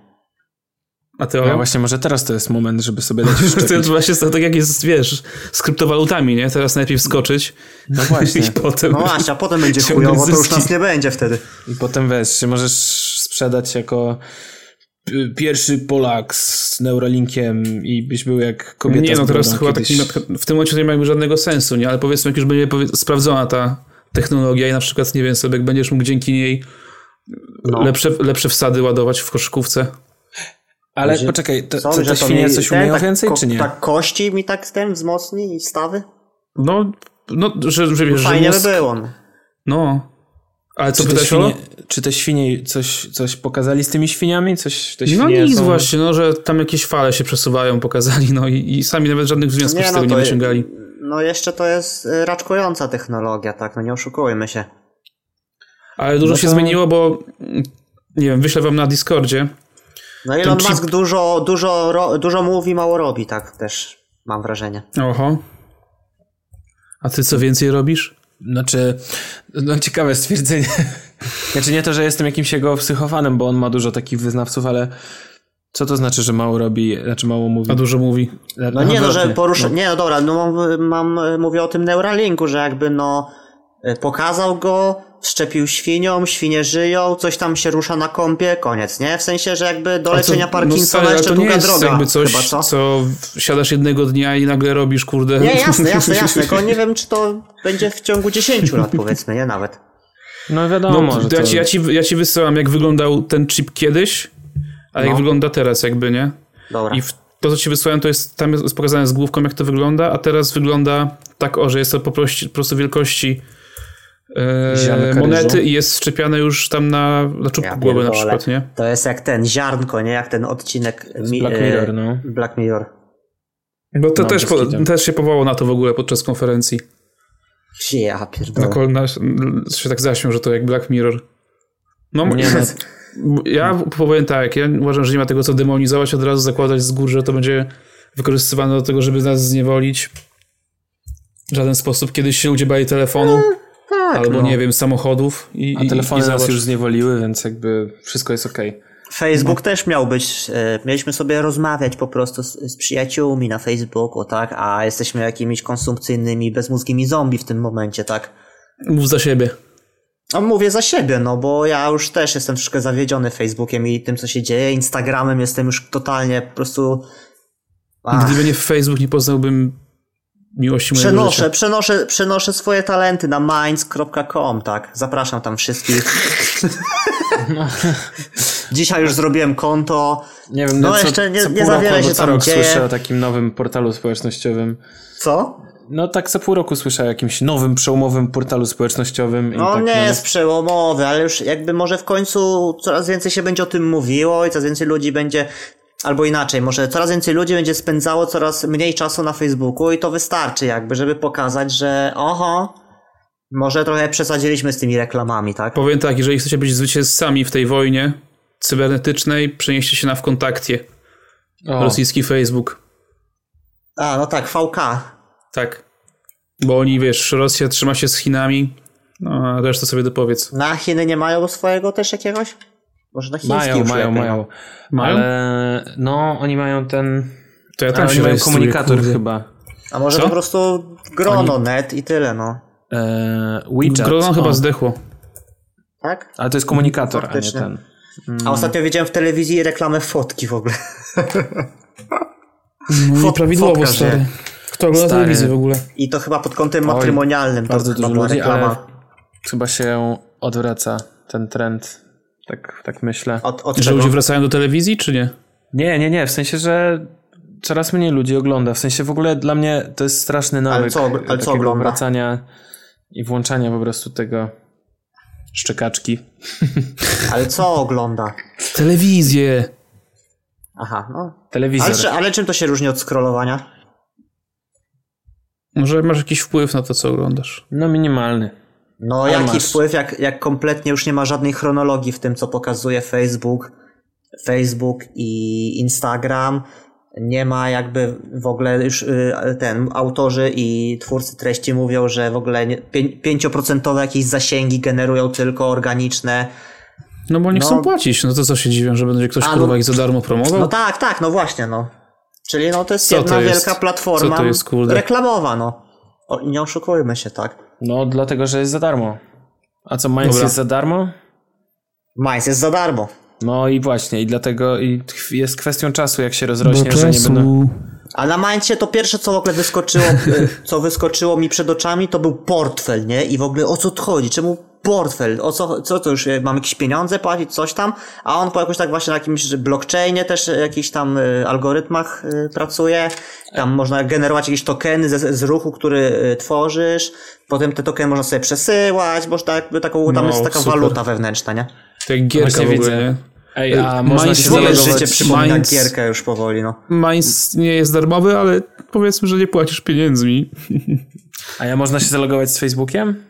[SPEAKER 6] A ty,
[SPEAKER 2] No
[SPEAKER 6] Ola?
[SPEAKER 2] właśnie, może teraz to jest moment, żeby sobie dać wszczepić.
[SPEAKER 6] To jest właśnie to, tak jak jest, wiesz, z kryptowalutami, nie? Teraz najpierw skoczyć
[SPEAKER 2] No właśnie.
[SPEAKER 6] i potem...
[SPEAKER 4] No właśnie, a potem będzie
[SPEAKER 6] Ciągle
[SPEAKER 4] chujowo, to już
[SPEAKER 6] zyski.
[SPEAKER 4] nas nie będzie wtedy.
[SPEAKER 2] I potem wiesz, czy możesz sprzedać jako y, pierwszy Polak z Neuralinkiem i byś był jak kobieta
[SPEAKER 6] Nie,
[SPEAKER 2] z
[SPEAKER 6] no
[SPEAKER 2] brodą
[SPEAKER 6] teraz chyba tak
[SPEAKER 2] kiedyś.
[SPEAKER 6] nie ma, w tym momencie to nie ma jakby żadnego sensu, nie? Ale powiedzmy, jak już będzie powie- sprawdzona ta technologia i na przykład, nie wiem, sobie będziesz mógł dzięki niej
[SPEAKER 4] No.
[SPEAKER 6] lepsze, lepsze wsady ładować w koszykówce.
[SPEAKER 2] Ale
[SPEAKER 4] Ludzie-
[SPEAKER 2] poczekaj, to,
[SPEAKER 4] Są,
[SPEAKER 2] co,
[SPEAKER 4] że
[SPEAKER 2] te
[SPEAKER 4] to
[SPEAKER 2] świnie
[SPEAKER 4] mi-
[SPEAKER 2] coś
[SPEAKER 4] ten
[SPEAKER 2] umieją
[SPEAKER 4] tak
[SPEAKER 2] więcej,
[SPEAKER 4] ko-
[SPEAKER 2] czy nie?
[SPEAKER 4] Tak kości mi tak ten wzmocni i stawy?
[SPEAKER 6] No, no że, że wiesz, że
[SPEAKER 4] Fajnie by
[SPEAKER 6] mózg-
[SPEAKER 4] było. no.
[SPEAKER 6] No. Ale co
[SPEAKER 2] Czy te,
[SPEAKER 6] pytałeś o?
[SPEAKER 2] świnie, czy te świnie coś, coś pokazali z tymi świniami? Coś, te
[SPEAKER 6] No
[SPEAKER 2] świnie
[SPEAKER 6] nic
[SPEAKER 2] są...
[SPEAKER 6] właśnie, no, że tam jakieś fale się przesuwają, pokazali, no i, i sami nawet żadnych wniosków z tego nie
[SPEAKER 4] no to je-
[SPEAKER 6] wyciągali.
[SPEAKER 4] No jeszcze to jest y, raczkująca technologia, tak, no nie oszukujmy się.
[SPEAKER 6] Ale dużo
[SPEAKER 2] No
[SPEAKER 6] się
[SPEAKER 2] to-
[SPEAKER 6] zmieniło, bo mm, nie wiem, wyślę wam na Discordzie.
[SPEAKER 4] No Elon
[SPEAKER 6] chip-
[SPEAKER 4] Musk dużo, dużo, ro, dużo mówi, mało robi, tak też mam wrażenie.
[SPEAKER 6] Oho. A ty co więcej robisz?
[SPEAKER 2] Znaczy, no ciekawe stwierdzenie. Znaczy nie to, że jestem jakimś jego psychofanem, bo on ma dużo takich wyznawców, ale co to znaczy, że mało robi, znaczy mało mówi?
[SPEAKER 6] A dużo mówi.
[SPEAKER 4] No nie no, że
[SPEAKER 2] odwrotnie.
[SPEAKER 4] porusza... Nie no dobra, no mam, mam, mówię o tym Neuralinku, że jakby no y, pokazał go, wszczepił świniom, świnie żyją, coś tam się rusza na kąpie, koniec, nie? W sensie, że jakby do
[SPEAKER 6] A
[SPEAKER 4] leczenia
[SPEAKER 6] co- no
[SPEAKER 4] Parkinsona
[SPEAKER 6] stary, ale
[SPEAKER 4] jeszcze
[SPEAKER 6] to nie
[SPEAKER 4] długa
[SPEAKER 6] jest
[SPEAKER 4] droga.
[SPEAKER 6] jakby coś,
[SPEAKER 4] chyba, co?
[SPEAKER 6] w- siadasz jednego dnia i nagle robisz, kurde.
[SPEAKER 4] Nie, jasne, jasne, jasne, tylko nie wiem, czy to będzie w ciągu 10 lat powiedzmy, nie nawet.
[SPEAKER 2] No
[SPEAKER 6] No,
[SPEAKER 2] wiadomo, że
[SPEAKER 6] ja,
[SPEAKER 2] to...
[SPEAKER 6] ci, ja, ci, ja ci wysyłam, jak wyglądał ten chip kiedyś, a
[SPEAKER 2] No.
[SPEAKER 6] jak wygląda teraz, jakby, nie?
[SPEAKER 4] Dobra.
[SPEAKER 6] I w, to, co ci wysłałem, to jest tam jest pokazane z główką, jak to wygląda, a teraz wygląda tak, o, że jest to po prostu, po prostu wielkości e,
[SPEAKER 2] Ziarnka
[SPEAKER 6] monety
[SPEAKER 2] ryżu.
[SPEAKER 6] i jest szczepiane już tam na, na czubku
[SPEAKER 4] Ja
[SPEAKER 6] głowy na
[SPEAKER 4] pierdolę.
[SPEAKER 6] przykład, nie?
[SPEAKER 4] To jest jak ten ziarnko, nie? Jak ten odcinek mi-
[SPEAKER 2] Black
[SPEAKER 4] e,
[SPEAKER 2] Mirror, no.
[SPEAKER 4] Black Mirror.
[SPEAKER 6] Bo to
[SPEAKER 2] No,
[SPEAKER 6] też,
[SPEAKER 2] bez
[SPEAKER 6] po,
[SPEAKER 2] kitu.
[SPEAKER 6] też się powołało na to w ogóle podczas konferencji.
[SPEAKER 4] Ja
[SPEAKER 6] Na
[SPEAKER 2] No.
[SPEAKER 4] pierdolę.
[SPEAKER 6] kolna się tak zaśmiał, że to jak Black Mirror. No,
[SPEAKER 2] Nie,
[SPEAKER 6] nie, ja powiem tak, ja uważam, że nie ma tego co demonizować, od razu zakładać z góry, że to będzie wykorzystywane do tego, żeby nas zniewolić. W żaden sposób. Kiedyś się ludzie bali telefonu, albo nie wiem, samochodów. I,
[SPEAKER 2] E, tak, no. A
[SPEAKER 6] i- i
[SPEAKER 2] telefony nas
[SPEAKER 6] zobacz.
[SPEAKER 2] już zniewoliły, więc jakby wszystko jest okej.
[SPEAKER 4] Facebook też miał być, e, mieliśmy sobie rozmawiać po prostu z, z przyjaciółmi na Facebooku, tak? A jesteśmy jakimiś konsumpcyjnymi, bezmózgimi zombie w tym momencie, tak?
[SPEAKER 6] Mów za siebie.
[SPEAKER 4] No mówię za siebie, no bo ja już też jestem troszkę zawiedziony Facebookiem i tym, co się dzieje. Instagramem jestem już totalnie po prostu... Ach.
[SPEAKER 6] Gdyby nie Facebook, nie poznałbym miłości mojego
[SPEAKER 4] Przenoszę,
[SPEAKER 6] życia.
[SPEAKER 4] przenoszę, przenoszę swoje talenty na minds.com, tak. Zapraszam tam wszystkich. Dzisiaj już zrobiłem konto.
[SPEAKER 2] No. Nie wiem,
[SPEAKER 4] No
[SPEAKER 2] co,
[SPEAKER 4] jeszcze nie-
[SPEAKER 2] co
[SPEAKER 4] nie
[SPEAKER 2] pół
[SPEAKER 4] za
[SPEAKER 2] roku
[SPEAKER 4] wiele
[SPEAKER 2] albo
[SPEAKER 4] się
[SPEAKER 2] co
[SPEAKER 4] tam
[SPEAKER 2] rok
[SPEAKER 4] dzieje.
[SPEAKER 2] słyszę tak. o takim nowym portalu społecznościowym.
[SPEAKER 4] Co?
[SPEAKER 2] No tak co pół roku słyszę o jakimś nowym, przełomowym portalu społecznościowym. i
[SPEAKER 4] No
[SPEAKER 2] tak,
[SPEAKER 4] on nie
[SPEAKER 2] no.
[SPEAKER 4] jest przełomowy, ale już jakby może w końcu coraz więcej się będzie o tym mówiło i coraz więcej ludzi będzie, albo inaczej, może coraz więcej ludzi będzie spędzało coraz mniej czasu na Facebooku i to wystarczy jakby, żeby pokazać, że oho, może trochę przesadziliśmy z tymi reklamami, tak?
[SPEAKER 6] Powiem tak, jeżeli chcecie być zwycięzcami w tej wojnie cybernetycznej, przenieście się na wkontakcie.
[SPEAKER 2] O,
[SPEAKER 6] Rosyjski Facebook.
[SPEAKER 4] A, no tak, VK.
[SPEAKER 6] Tak. Bo oni, wiesz, Rosja trzyma się z Chinami, no a resztę sobie dopowiedz.
[SPEAKER 4] Na Chiny nie mają swojego też jakiegoś? Może na chiński
[SPEAKER 2] mają,
[SPEAKER 4] już
[SPEAKER 2] mają,
[SPEAKER 4] lepiej.
[SPEAKER 2] mają,
[SPEAKER 6] Mają?
[SPEAKER 2] Ale E, no oni mają ten...
[SPEAKER 6] To ja tam
[SPEAKER 2] ale
[SPEAKER 6] się
[SPEAKER 2] oni mają
[SPEAKER 6] rejestruję,
[SPEAKER 2] komunikator
[SPEAKER 6] kurde.
[SPEAKER 2] chyba.
[SPEAKER 4] A może
[SPEAKER 6] Co?
[SPEAKER 4] po prostu grono net i tyle, no.
[SPEAKER 2] E, WeChat.
[SPEAKER 6] Grono
[SPEAKER 2] o.
[SPEAKER 6] chyba zdechło.
[SPEAKER 4] Tak?
[SPEAKER 2] Ale to jest komunikator,
[SPEAKER 4] Faktycznie.
[SPEAKER 2] a nie ten. Mm.
[SPEAKER 4] A ostatnio widziałem w telewizji reklamę fotki w ogóle.
[SPEAKER 6] No
[SPEAKER 4] Fot-
[SPEAKER 6] i prawidłowo,
[SPEAKER 4] fotka,
[SPEAKER 6] stary.
[SPEAKER 4] że-
[SPEAKER 6] Kto ogląda
[SPEAKER 2] Stary.
[SPEAKER 6] telewizję w ogóle?
[SPEAKER 4] I to chyba pod kątem matrymonialnym.
[SPEAKER 2] Bardzo
[SPEAKER 4] to chyba
[SPEAKER 2] dużo
[SPEAKER 4] była
[SPEAKER 2] ludzi,
[SPEAKER 4] reklama.
[SPEAKER 2] ale chyba się odwraca ten trend.
[SPEAKER 7] Tak, tak myślę.
[SPEAKER 4] Od, od
[SPEAKER 6] Że
[SPEAKER 4] czego?
[SPEAKER 6] ludzie wracają do telewizji, czy nie?
[SPEAKER 7] Nie, nie, nie, w sensie, że coraz mniej ludzi ogląda. W sensie w ogóle dla mnie to jest straszny nawyk
[SPEAKER 4] co ogl- ale co
[SPEAKER 7] takiego
[SPEAKER 4] ogląda?
[SPEAKER 7] wracania i włączania po prostu tego szczekaczki.
[SPEAKER 4] Ale co ogląda?
[SPEAKER 6] Telewizję!
[SPEAKER 4] Aha, no.
[SPEAKER 7] Telewizor.
[SPEAKER 4] Ale, czy, ale czym to się różni od scrollowania?
[SPEAKER 6] Może masz jakiś wpływ na to, co oglądasz.
[SPEAKER 7] No minimalny.
[SPEAKER 4] No jaki
[SPEAKER 7] masz.
[SPEAKER 4] wpływ, jak, jak kompletnie już nie ma żadnej chronologii w tym, co pokazuje Facebook, Facebook i Instagram. Nie ma jakby w ogóle już y, ten autorzy i twórcy treści mówią, że w ogóle nie- pię- 5% jakieś zasięgi generują tylko organiczne.
[SPEAKER 6] No bo nie
[SPEAKER 4] No.
[SPEAKER 6] chcą płacić, no to co się dziwią, że będzie ktoś
[SPEAKER 4] A, no-
[SPEAKER 6] kurwa ich za darmo promował?
[SPEAKER 4] No tak, tak, no właśnie, no. Czyli no to jest
[SPEAKER 6] Co
[SPEAKER 4] jedna
[SPEAKER 6] to jest?
[SPEAKER 4] wielka platforma
[SPEAKER 6] Co to jest, kurde?
[SPEAKER 4] reklamowa, no. O, nie oszukujmy się, tak.
[SPEAKER 7] No dlatego, że jest za darmo. A co, Minds
[SPEAKER 6] Dobra.
[SPEAKER 7] jest za darmo?
[SPEAKER 4] Majs jest za darmo.
[SPEAKER 7] No i właśnie, i dlatego i tch- jest kwestią czasu, jak się rozrośnie, że nie będą...
[SPEAKER 4] A na Mindsie to pierwsze, co w ogóle wyskoczyło, y, co wyskoczyło mi przed oczami, to był portfel, nie? I w ogóle o co tu chodzi? Czemu portfel? O co, co to już, y, mam jakieś pieniądze płacić, coś tam? A on po jakoś tak właśnie na jakimś że blockchainie też y, jakichś tam y, algorytmach y, pracuje. Tam można generować jakieś tokeny z, z ruchu, który y, tworzysz. Potem te tokeny można sobie przesyłać, bo tak, jakby taką, tam
[SPEAKER 6] No,
[SPEAKER 4] jest taka
[SPEAKER 6] super.
[SPEAKER 4] waluta wewnętrzna, nie?
[SPEAKER 6] Te gierki
[SPEAKER 7] Taka
[SPEAKER 6] nie
[SPEAKER 7] w ogóle.
[SPEAKER 6] widzę, nie? Y,
[SPEAKER 7] Ej, a
[SPEAKER 6] Ej,
[SPEAKER 7] można
[SPEAKER 6] Minds
[SPEAKER 7] się
[SPEAKER 4] W ogóle
[SPEAKER 7] zalogować...
[SPEAKER 4] życie przypomina
[SPEAKER 6] Minds-
[SPEAKER 4] gierkę już powoli, no.
[SPEAKER 6] Minds nie jest darmowy, ale powiedzmy, że nie płacisz pieniędzmi.
[SPEAKER 7] A ja można się zalogować z Facebookiem?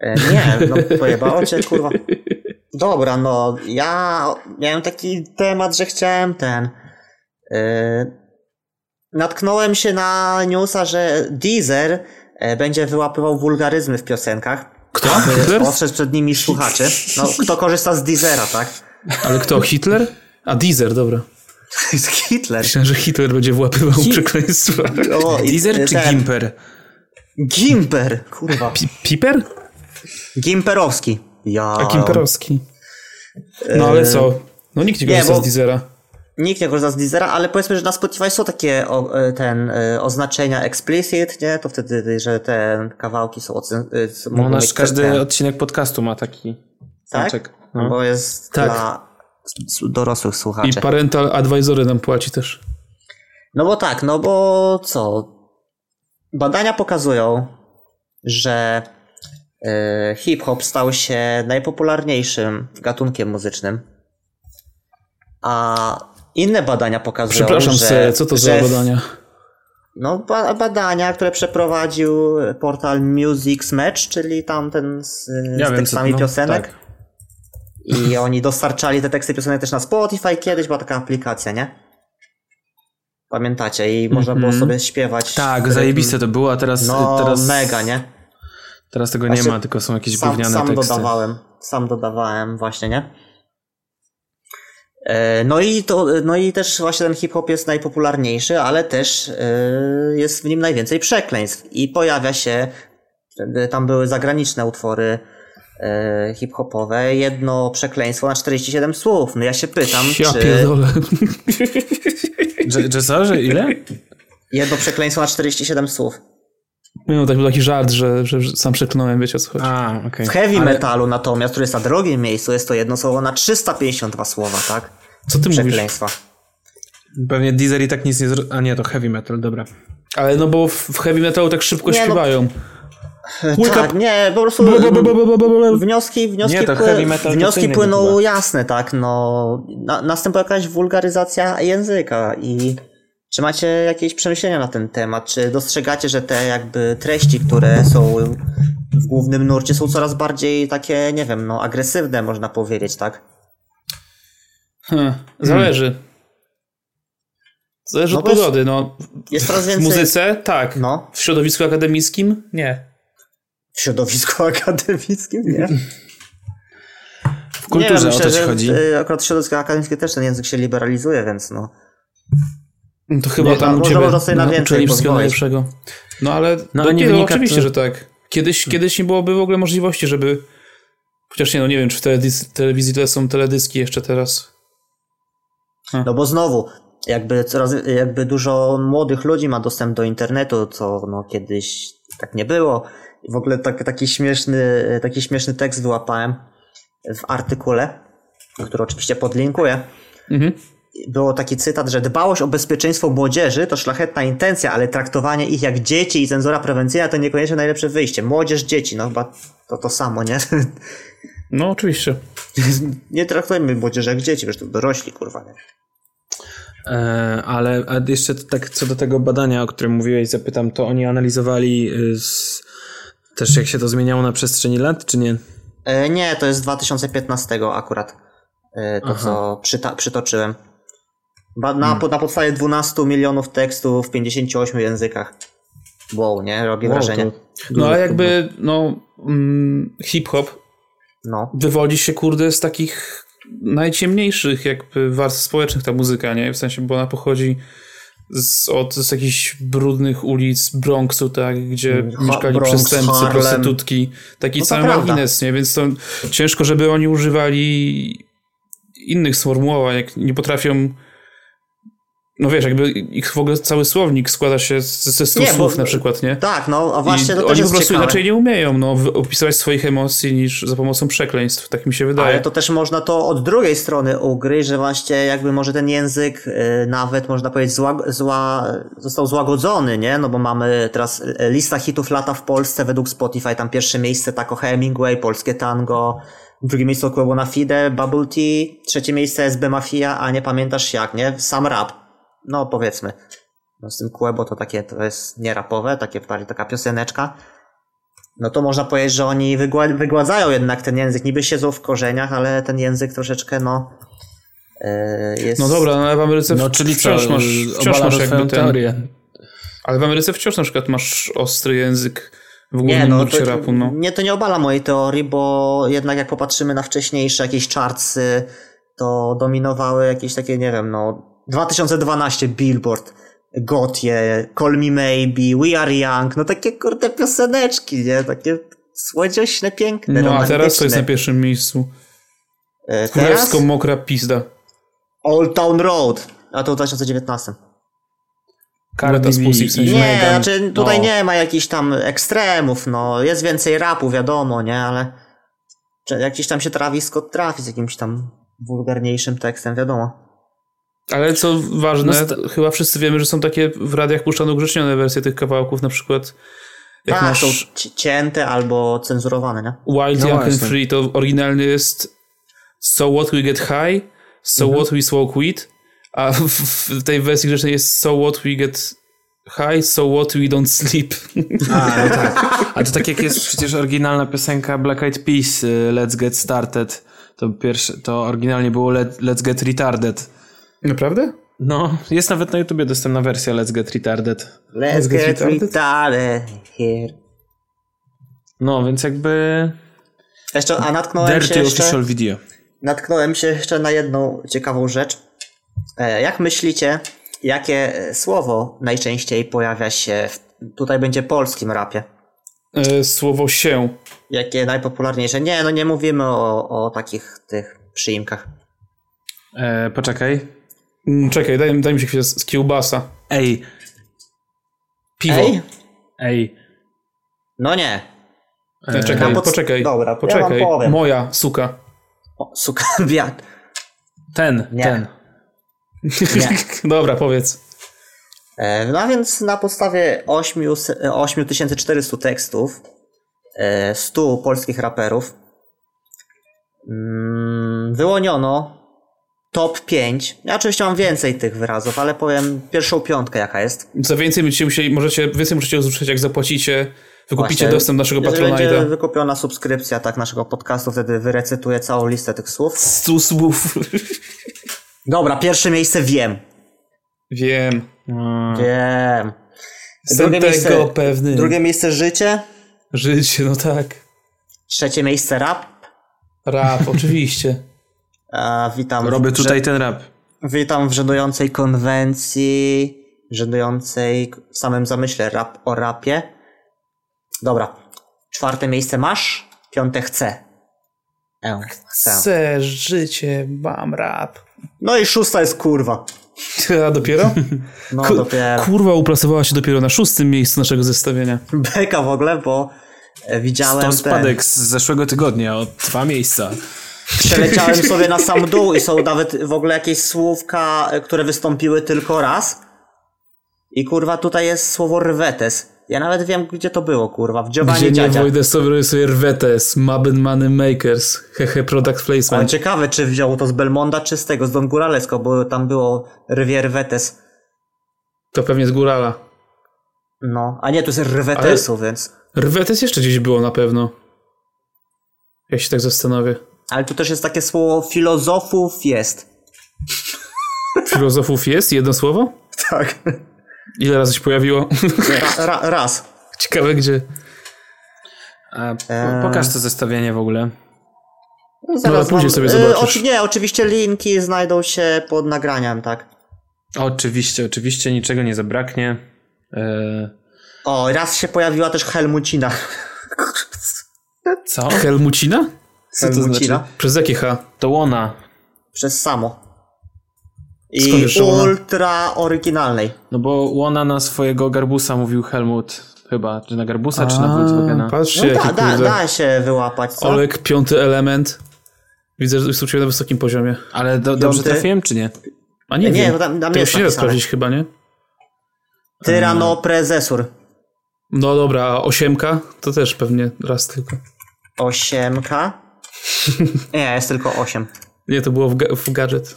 [SPEAKER 4] E, Nie, no pojebało cię, kurwa. Dobra, no ja miałem taki temat, że chciałem ten. e, natknąłem się na newsa, że Deezer e, będzie wyłapywał wulgaryzmy w piosenkach.
[SPEAKER 6] Kto?
[SPEAKER 4] By
[SPEAKER 6] Hitler?
[SPEAKER 4] ostrzec przed nimi słuchaczy. No, kto korzysta z Deezera, tak?
[SPEAKER 6] Ale kto? Hitler? A Deezer, dobra.
[SPEAKER 4] To jest Hitler.
[SPEAKER 6] Myślałem, że Hitler będzie włapywał przekleństwa.
[SPEAKER 4] O, i-
[SPEAKER 7] Deezer czy
[SPEAKER 4] ten-
[SPEAKER 7] Gimper?
[SPEAKER 4] Gimper, kurwa.
[SPEAKER 6] Pi- Piper?
[SPEAKER 4] Gimperowski. Ja. e,
[SPEAKER 6] A Kimperowski. No ale co? No nikt nie korzysta
[SPEAKER 4] bo-
[SPEAKER 6] z Deezera.
[SPEAKER 4] Nikt nie korzysta z Deezera, ale powiedzmy, że na Spotify są takie o, e, ten, e, oznaczenia explicit, nie? To wtedy, że te kawałki są ocen... e, są-
[SPEAKER 7] No
[SPEAKER 4] mogą
[SPEAKER 7] nasz
[SPEAKER 4] mieć
[SPEAKER 7] każdy
[SPEAKER 4] ten-
[SPEAKER 7] odcinek podcastu ma taki
[SPEAKER 4] tak?
[SPEAKER 7] znaczek. No.
[SPEAKER 4] Bo jest
[SPEAKER 6] Tak.
[SPEAKER 4] dla s- dorosłych
[SPEAKER 6] I
[SPEAKER 4] słuchaczy.
[SPEAKER 6] Parental Advisory nam płaci też.
[SPEAKER 4] No bo tak, no bo co? Badania pokazują, że e, hip-hop stał się najpopularniejszym gatunkiem muzycznym, a inne badania pokazują,
[SPEAKER 6] Przepraszam,
[SPEAKER 4] że,
[SPEAKER 6] se, co to
[SPEAKER 4] że
[SPEAKER 6] za badania?
[SPEAKER 4] No, ba- badania, które przeprowadził portal Music's Match, czyli tamten z,
[SPEAKER 7] Ja
[SPEAKER 4] z
[SPEAKER 7] wiem,
[SPEAKER 4] tekstami
[SPEAKER 7] co- no,
[SPEAKER 4] piosenek.
[SPEAKER 7] tak.
[SPEAKER 4] I oni dostarczali te teksty piosenek też na Spotify kiedyś, była taka aplikacja, nie? Pamiętacie? I można było sobie śpiewać.
[SPEAKER 7] Mhm. Tak,
[SPEAKER 4] w
[SPEAKER 7] zajebiste to było, a teraz,
[SPEAKER 4] No,
[SPEAKER 7] teraz,
[SPEAKER 4] mega, nie?
[SPEAKER 7] teraz tego nie
[SPEAKER 4] Właśnie
[SPEAKER 7] ma, tylko są jakieś
[SPEAKER 4] Sam,
[SPEAKER 7] gówniane
[SPEAKER 4] sam
[SPEAKER 7] teksty.
[SPEAKER 4] dodawałem. Sam dodawałem, właśnie, nie? E, No i, to, no i też właśnie ten hip-hop jest najpopularniejszy, ale też e, jest w nim najwięcej przekleństw. I pojawia się, wtedy tam były zagraniczne utwory e, hip-hopowe, jedno przekleństwo na 47 słów. No ja się pytam,
[SPEAKER 6] Ja
[SPEAKER 4] czy
[SPEAKER 6] pierdolę.
[SPEAKER 7] Że, że co, że ile?
[SPEAKER 4] jedno przekleństwo na 47 słów.
[SPEAKER 6] Miałem taki, taki żart, że, że, że sam przeklnąłem, wiecie o co chodzi.
[SPEAKER 7] A, okej.
[SPEAKER 4] W heavy
[SPEAKER 7] Ale-
[SPEAKER 4] metalu natomiast, który jest na drugim miejscu, jest to jedno słowo na 352 słowa, tak?
[SPEAKER 6] Co ty mówisz?
[SPEAKER 4] Przekleństwa.
[SPEAKER 7] Pewnie Deezer i tak nic nie zrobił. A nie, to heavy metal, dobra.
[SPEAKER 6] Ale no bo w, w heavy metalu tak szybko
[SPEAKER 4] Nie, no-
[SPEAKER 6] śpiewają. Wake
[SPEAKER 4] tak,
[SPEAKER 6] up.
[SPEAKER 4] nie, po prostu
[SPEAKER 6] Ba, ba, ba, ba, ba, ba, ba.
[SPEAKER 4] wnioski, wnioski,
[SPEAKER 7] Nie, to
[SPEAKER 4] pły-
[SPEAKER 7] heavy metal to co
[SPEAKER 4] wnioski
[SPEAKER 7] innego
[SPEAKER 4] płyną
[SPEAKER 7] chyba.
[SPEAKER 4] jasne, tak, no. Na, następuje jakaś wulgaryzacja języka i czy macie jakieś przemyślenia na ten temat? Czy dostrzegacie, że te jakby treści, które są w głównym nurcie są coraz bardziej takie, nie wiem, no agresywne można powiedzieć, tak?
[SPEAKER 6] Hm, Zależy. Zależy
[SPEAKER 4] No
[SPEAKER 6] od
[SPEAKER 4] bo jest-
[SPEAKER 6] pogody, no.
[SPEAKER 4] Jest coraz
[SPEAKER 6] W
[SPEAKER 4] więcej
[SPEAKER 6] muzyce? Tak.
[SPEAKER 4] No.
[SPEAKER 6] W środowisku akademickim? Nie.
[SPEAKER 4] w środowisku akademickim, nie?
[SPEAKER 7] W kulturze
[SPEAKER 4] nie,
[SPEAKER 7] o to ci
[SPEAKER 4] że,
[SPEAKER 7] chodzi.
[SPEAKER 4] y, Akurat w środowisku akademickim też ten język się liberalizuje, więc no.
[SPEAKER 6] No To chyba
[SPEAKER 4] Nie,
[SPEAKER 6] tam
[SPEAKER 4] no,
[SPEAKER 6] u
[SPEAKER 4] może
[SPEAKER 6] ciebie
[SPEAKER 4] można sobie na
[SPEAKER 6] nauczyli
[SPEAKER 4] więcej
[SPEAKER 6] wszystkiego
[SPEAKER 4] pozwolić.
[SPEAKER 6] najlepszego. No ale,
[SPEAKER 7] No,
[SPEAKER 6] no,
[SPEAKER 7] ale nie
[SPEAKER 6] nie, no,
[SPEAKER 7] wynika
[SPEAKER 6] oczywiście,
[SPEAKER 7] to-
[SPEAKER 6] że tak. Kiedyś, kiedyś nie byłoby w ogóle możliwości, żeby... Chociaż nie, no nie wiem, czy w teledys- telewizji tyle są teledyski jeszcze teraz.
[SPEAKER 4] No bo znowu, jakby coraz, jakby dużo młodych ludzi ma dostęp do internetu, co no kiedyś tak nie było. I w ogóle tak, taki, śmieszny, taki śmieszny tekst wyłapałem, w artykule, który oczywiście podlinkuję, było taki cytat, że dbałość o bezpieczeństwo młodzieży to szlachetna intencja, ale traktowanie ich jak dzieci i cenzura prewencyjna to niekoniecznie najlepsze wyjście. Młodzież, dzieci, no chyba to to samo, nie?
[SPEAKER 6] No oczywiście.
[SPEAKER 4] nie traktujemy młodzieży jak dzieci, wiesz, to dorośli, kurwa, nie?
[SPEAKER 7] E, ale a jeszcze tak co do tego badania, o którym mówiłeś, zapytam, to oni analizowali y, z, też jak się to zmieniało na przestrzeni lat, czy nie?
[SPEAKER 4] E, nie, to jest 2015 akurat. E, to, co przyta- przytoczyłem. Ba- na,
[SPEAKER 6] Hmm.
[SPEAKER 4] po, na podstawie 12 milionów tekstów w 58 językach. Wow, nie? Robi wrażenie.
[SPEAKER 6] No ale jakby, no, mm, hip-hop
[SPEAKER 4] No.
[SPEAKER 6] wywodzi się, kurde, z takich najciemniejszych jakby warstw społecznych ta muzyka, nie? W sensie, bo ona pochodzi z, od z jakichś brudnych ulic Bronxu, tak? Gdzie
[SPEAKER 4] Mm, Ha-
[SPEAKER 6] mieszkali
[SPEAKER 4] Bronx,
[SPEAKER 6] przestępcy,
[SPEAKER 4] Harlem.
[SPEAKER 6] prostytutki. Taki
[SPEAKER 4] No to
[SPEAKER 6] cały
[SPEAKER 4] prawda.
[SPEAKER 6] margines, nie? Więc to ciężko, żeby oni używali innych sformułowań, jak nie potrafią no wiesz, jakby ich w ogóle cały słownik składa się z- ze stu
[SPEAKER 4] Nie, bo-
[SPEAKER 6] słów na przykład, nie?
[SPEAKER 4] Tak, no, a właśnie
[SPEAKER 6] I
[SPEAKER 4] to też
[SPEAKER 6] oni po
[SPEAKER 4] jest
[SPEAKER 6] prostu
[SPEAKER 4] ciekawe.
[SPEAKER 6] inaczej nie umieją no, w- opisywać swoich emocji niż za pomocą przekleństw, tak mi się wydaje.
[SPEAKER 4] Ale to też można to od drugiej strony ugryźć, że właśnie jakby może ten język y, nawet można powiedzieć zła, zła, został złagodzony, nie? No bo mamy teraz y, lista hitów lata w Polsce według Spotify, tam pierwsze miejsce Taco Hemingway, Polskie Tango, drugie miejsce Okłebo na Fide, Bubble Tea, trzecie miejsce SB Mafia, a nie pamiętasz jak, nie? Sam rap. No powiedzmy. No z tym Kłebo to takie, to jest nierapowe, takie bardziej taka pioseneczka no to można powiedzieć, że oni wygła- wygładzają jednak ten język. Niby siedzą w korzeniach, ale ten język troszeczkę, no. yy, jest...
[SPEAKER 6] No dobra, no, ale w Ameryce
[SPEAKER 7] No czyli
[SPEAKER 6] wciąż
[SPEAKER 7] co,
[SPEAKER 6] masz,
[SPEAKER 7] y,
[SPEAKER 6] wciąż
[SPEAKER 7] obalasz
[SPEAKER 6] masz jakby
[SPEAKER 7] swoją
[SPEAKER 6] ten,
[SPEAKER 7] teorię.
[SPEAKER 6] Ale w Ameryce wciąż na przykład masz ostry język w głównym
[SPEAKER 4] Nie, no,
[SPEAKER 6] nurcie
[SPEAKER 4] to,
[SPEAKER 6] rapu, no.
[SPEAKER 4] nie, to nie obala mojej teorii, bo jednak jak popatrzymy na wcześniejsze jakieś czarcy, to dominowały jakieś takie, nie wiem, no 2012 Billboard, Gotie, Call Me Maybe, We Are Young, no takie kurde pioseneczki, nie? Takie słodziośne, piękne,
[SPEAKER 6] No a teraz to jest na
[SPEAKER 4] romantyczne.
[SPEAKER 6] pierwszym miejscu.
[SPEAKER 4] E, teraz
[SPEAKER 6] Królewsko mokra pizda.
[SPEAKER 4] Old Town Road, a to w 2019.
[SPEAKER 6] Meta z Pussy w sensie.
[SPEAKER 4] Nie, znaczy tutaj
[SPEAKER 6] no.
[SPEAKER 4] nie ma jakichś tam ekstremów, no jest więcej rapu, wiadomo, nie, ale czy jakiś tam się Travis Scott trafi z jakimś tam wulgarniejszym tekstem, wiadomo.
[SPEAKER 6] Ale co
[SPEAKER 7] No
[SPEAKER 6] ważne,
[SPEAKER 7] sta-
[SPEAKER 6] chyba wszyscy wiemy, że są takie w radiach puszczane ugrzecznione wersje tych kawałków, na przykład jak
[SPEAKER 4] Tak, są
[SPEAKER 6] masz
[SPEAKER 4] ci- cięte albo cenzurowane, nie?
[SPEAKER 6] Wild
[SPEAKER 7] No
[SPEAKER 6] Young and
[SPEAKER 7] właśnie.
[SPEAKER 6] Free, to oryginalny jest So What We Get High, So
[SPEAKER 4] Mhm.
[SPEAKER 6] What We Smoke Weed, a w, w tej wersji grzecznej jest So What We Get High, So What We Don't Sleep.
[SPEAKER 7] A, no tak. A to tak jak jest przecież oryginalna piosenka Black Eyed Peas, y, Let's Get Started. To, pierwsze, to oryginalnie było let, Let's Get Retarded.
[SPEAKER 6] Naprawdę?
[SPEAKER 7] No, jest nawet na YouTubie dostępna wersja Let's Get Retarded.
[SPEAKER 4] Let's get retarded here.
[SPEAKER 7] No, więc jakby...
[SPEAKER 4] Jeszcze, a natknąłem się
[SPEAKER 7] Dirty
[SPEAKER 4] jeszcze,
[SPEAKER 7] Official Video.
[SPEAKER 4] natknąłem się jeszcze na jedną ciekawą rzecz. E, Jak myślicie, jakie e, słowo najczęściej pojawia się, w, tutaj będzie polskim rapie?
[SPEAKER 6] E, słowo się.
[SPEAKER 4] Jakie najpopularniejsze? Nie, no nie mówimy o, o takich tych przyimkach.
[SPEAKER 7] E, poczekaj.
[SPEAKER 6] Mm, Czekaj, daj, daj mi się chwilę z z kiełbasa.
[SPEAKER 7] Ej,
[SPEAKER 6] Piwo.
[SPEAKER 4] Ej?
[SPEAKER 7] ej.
[SPEAKER 4] No nie.
[SPEAKER 6] E,
[SPEAKER 4] Na
[SPEAKER 6] Czekaj,
[SPEAKER 4] pod-
[SPEAKER 6] poczekaj.
[SPEAKER 4] no Dobra, ja
[SPEAKER 6] poczekaj.
[SPEAKER 4] wam powiem.
[SPEAKER 6] Moja suka.
[SPEAKER 4] O, suka, wiatr.
[SPEAKER 7] Ten,
[SPEAKER 4] Nie.
[SPEAKER 7] ten.
[SPEAKER 4] Nie.
[SPEAKER 6] Dobra, powiedz.
[SPEAKER 4] E, No a więc na podstawie 800 e, 8400 tekstów, e, 100 polskich raperów, mm, wyłoniono top 5. Ja oczywiście mam więcej tych wyrazów, ale powiem pierwszą piątkę jaka jest.
[SPEAKER 6] Za więcej będziecie musieli, możecie, więcej możecie usłyszeć, jak zapłacicie, wykupicie
[SPEAKER 4] Właśnie,
[SPEAKER 6] dostęp naszego
[SPEAKER 4] jeżeli
[SPEAKER 6] Patronite'a.
[SPEAKER 4] będzie wykupiona subskrypcja tak naszego podcastu, wtedy wyrecytuję całą listę tych słów.
[SPEAKER 6] Stu słów.
[SPEAKER 4] Dobra, pierwsze miejsce wiem.
[SPEAKER 6] Wiem.
[SPEAKER 4] Wiem.
[SPEAKER 6] Jestem
[SPEAKER 4] Drugie
[SPEAKER 6] tego
[SPEAKER 4] miejsce-
[SPEAKER 6] pewny.
[SPEAKER 4] Drugie miejsce życie,
[SPEAKER 6] Życie, no tak.
[SPEAKER 4] trzecie miejsce rap.
[SPEAKER 6] Rap, oczywiście.
[SPEAKER 4] A, witam.
[SPEAKER 7] Robię
[SPEAKER 4] w,
[SPEAKER 7] tutaj ten rap.
[SPEAKER 4] witam w żenującej konwencji, żenującej k- w samym zamyśle rap o rapie. Dobra. Czwarte miejsce masz, piąte chcę. E, chcę.
[SPEAKER 6] Chcę życie, mam rap.
[SPEAKER 4] No i szósta jest kurwa.
[SPEAKER 6] A dopiero?
[SPEAKER 4] No
[SPEAKER 6] Ku-
[SPEAKER 4] dopiero.
[SPEAKER 6] Kurwa, uplasowała się dopiero na szóstym miejscu naszego zestawienia.
[SPEAKER 4] Beka w ogóle, bo e, widziałem
[SPEAKER 2] To
[SPEAKER 4] ten...
[SPEAKER 2] spadek z zeszłego tygodnia o dwa miejsca.
[SPEAKER 4] Przeleciałem sobie na sam dół i są nawet w ogóle jakieś słówka, e, które wystąpiły tylko raz. I kurwa, tutaj jest słowo rwetes. Ja nawet wiem, gdzie to było, kurwa. W Giovanni
[SPEAKER 8] Gdzie nie
[SPEAKER 4] Dziadzia.
[SPEAKER 8] wojdę sobie rysuje Rwetes, Maben Money Makers, hehe Product
[SPEAKER 4] Ale
[SPEAKER 8] Placement.
[SPEAKER 4] ciekawe, czy wziął to z Belmonda, czy z tego, z Don Guralesco, bo tam było rwie rwetes.
[SPEAKER 6] To pewnie z Górala.
[SPEAKER 4] No, a nie, to jest rwetesu, więc...
[SPEAKER 6] Rwetes jeszcze gdzieś było na pewno. Ja się tak zastanowię.
[SPEAKER 4] Ale tu też jest takie słowo filozofów jest.
[SPEAKER 6] Filozofów jest? Jedno słowo?
[SPEAKER 4] Tak.
[SPEAKER 6] Ile razy się pojawiło?
[SPEAKER 4] Ra, ra, raz.
[SPEAKER 6] Ciekawe gdzie.
[SPEAKER 2] A,
[SPEAKER 4] E.
[SPEAKER 2] po- pokaż to zestawienie w ogóle.
[SPEAKER 4] Zaraz
[SPEAKER 6] No, później
[SPEAKER 4] wam-
[SPEAKER 6] sobie
[SPEAKER 4] y,
[SPEAKER 6] zobaczysz.
[SPEAKER 4] oczy- nie, oczywiście linki znajdą się pod nagraniem, tak.
[SPEAKER 2] Oczywiście, oczywiście, niczego nie zabraknie. E,
[SPEAKER 4] O, raz się pojawiła też Helmucina.
[SPEAKER 2] co?
[SPEAKER 6] Helmucina?
[SPEAKER 2] Co to
[SPEAKER 4] Helmucina.
[SPEAKER 2] znaczy?
[SPEAKER 6] Przez jakie H?
[SPEAKER 2] To ona.
[SPEAKER 4] Przez samo.
[SPEAKER 6] Skąd
[SPEAKER 4] I
[SPEAKER 6] wiesz, że ona-
[SPEAKER 4] ultra oryginalnej.
[SPEAKER 2] No bo łona na swojego garbusa mówił Helmut. Chyba, czy na garbusa, czy na Volkswagena.
[SPEAKER 6] patrzcie,
[SPEAKER 4] No da,
[SPEAKER 6] jakie
[SPEAKER 4] da,
[SPEAKER 6] kurde.
[SPEAKER 4] da się wyłapać, co?
[SPEAKER 6] Olek, piąty element. Widzę, że jest u ciebie na wysokim poziomie.
[SPEAKER 2] Ale do, dobrze
[SPEAKER 4] Piąty.
[SPEAKER 2] trafiłem, czy nie?
[SPEAKER 6] A nie,
[SPEAKER 4] Nie,
[SPEAKER 6] wiem.
[SPEAKER 4] bo tam- tam
[SPEAKER 6] Tego
[SPEAKER 4] jest
[SPEAKER 6] się nie da
[SPEAKER 4] napisane.
[SPEAKER 6] sprawdzić chyba, nie?
[SPEAKER 4] Tyranoprezesur.
[SPEAKER 6] No dobra, a osiemka? To też pewnie raz tylko.
[SPEAKER 4] Osiemka. Nie, jest tylko osiem.
[SPEAKER 6] Nie, to było w, ga- w gadżet.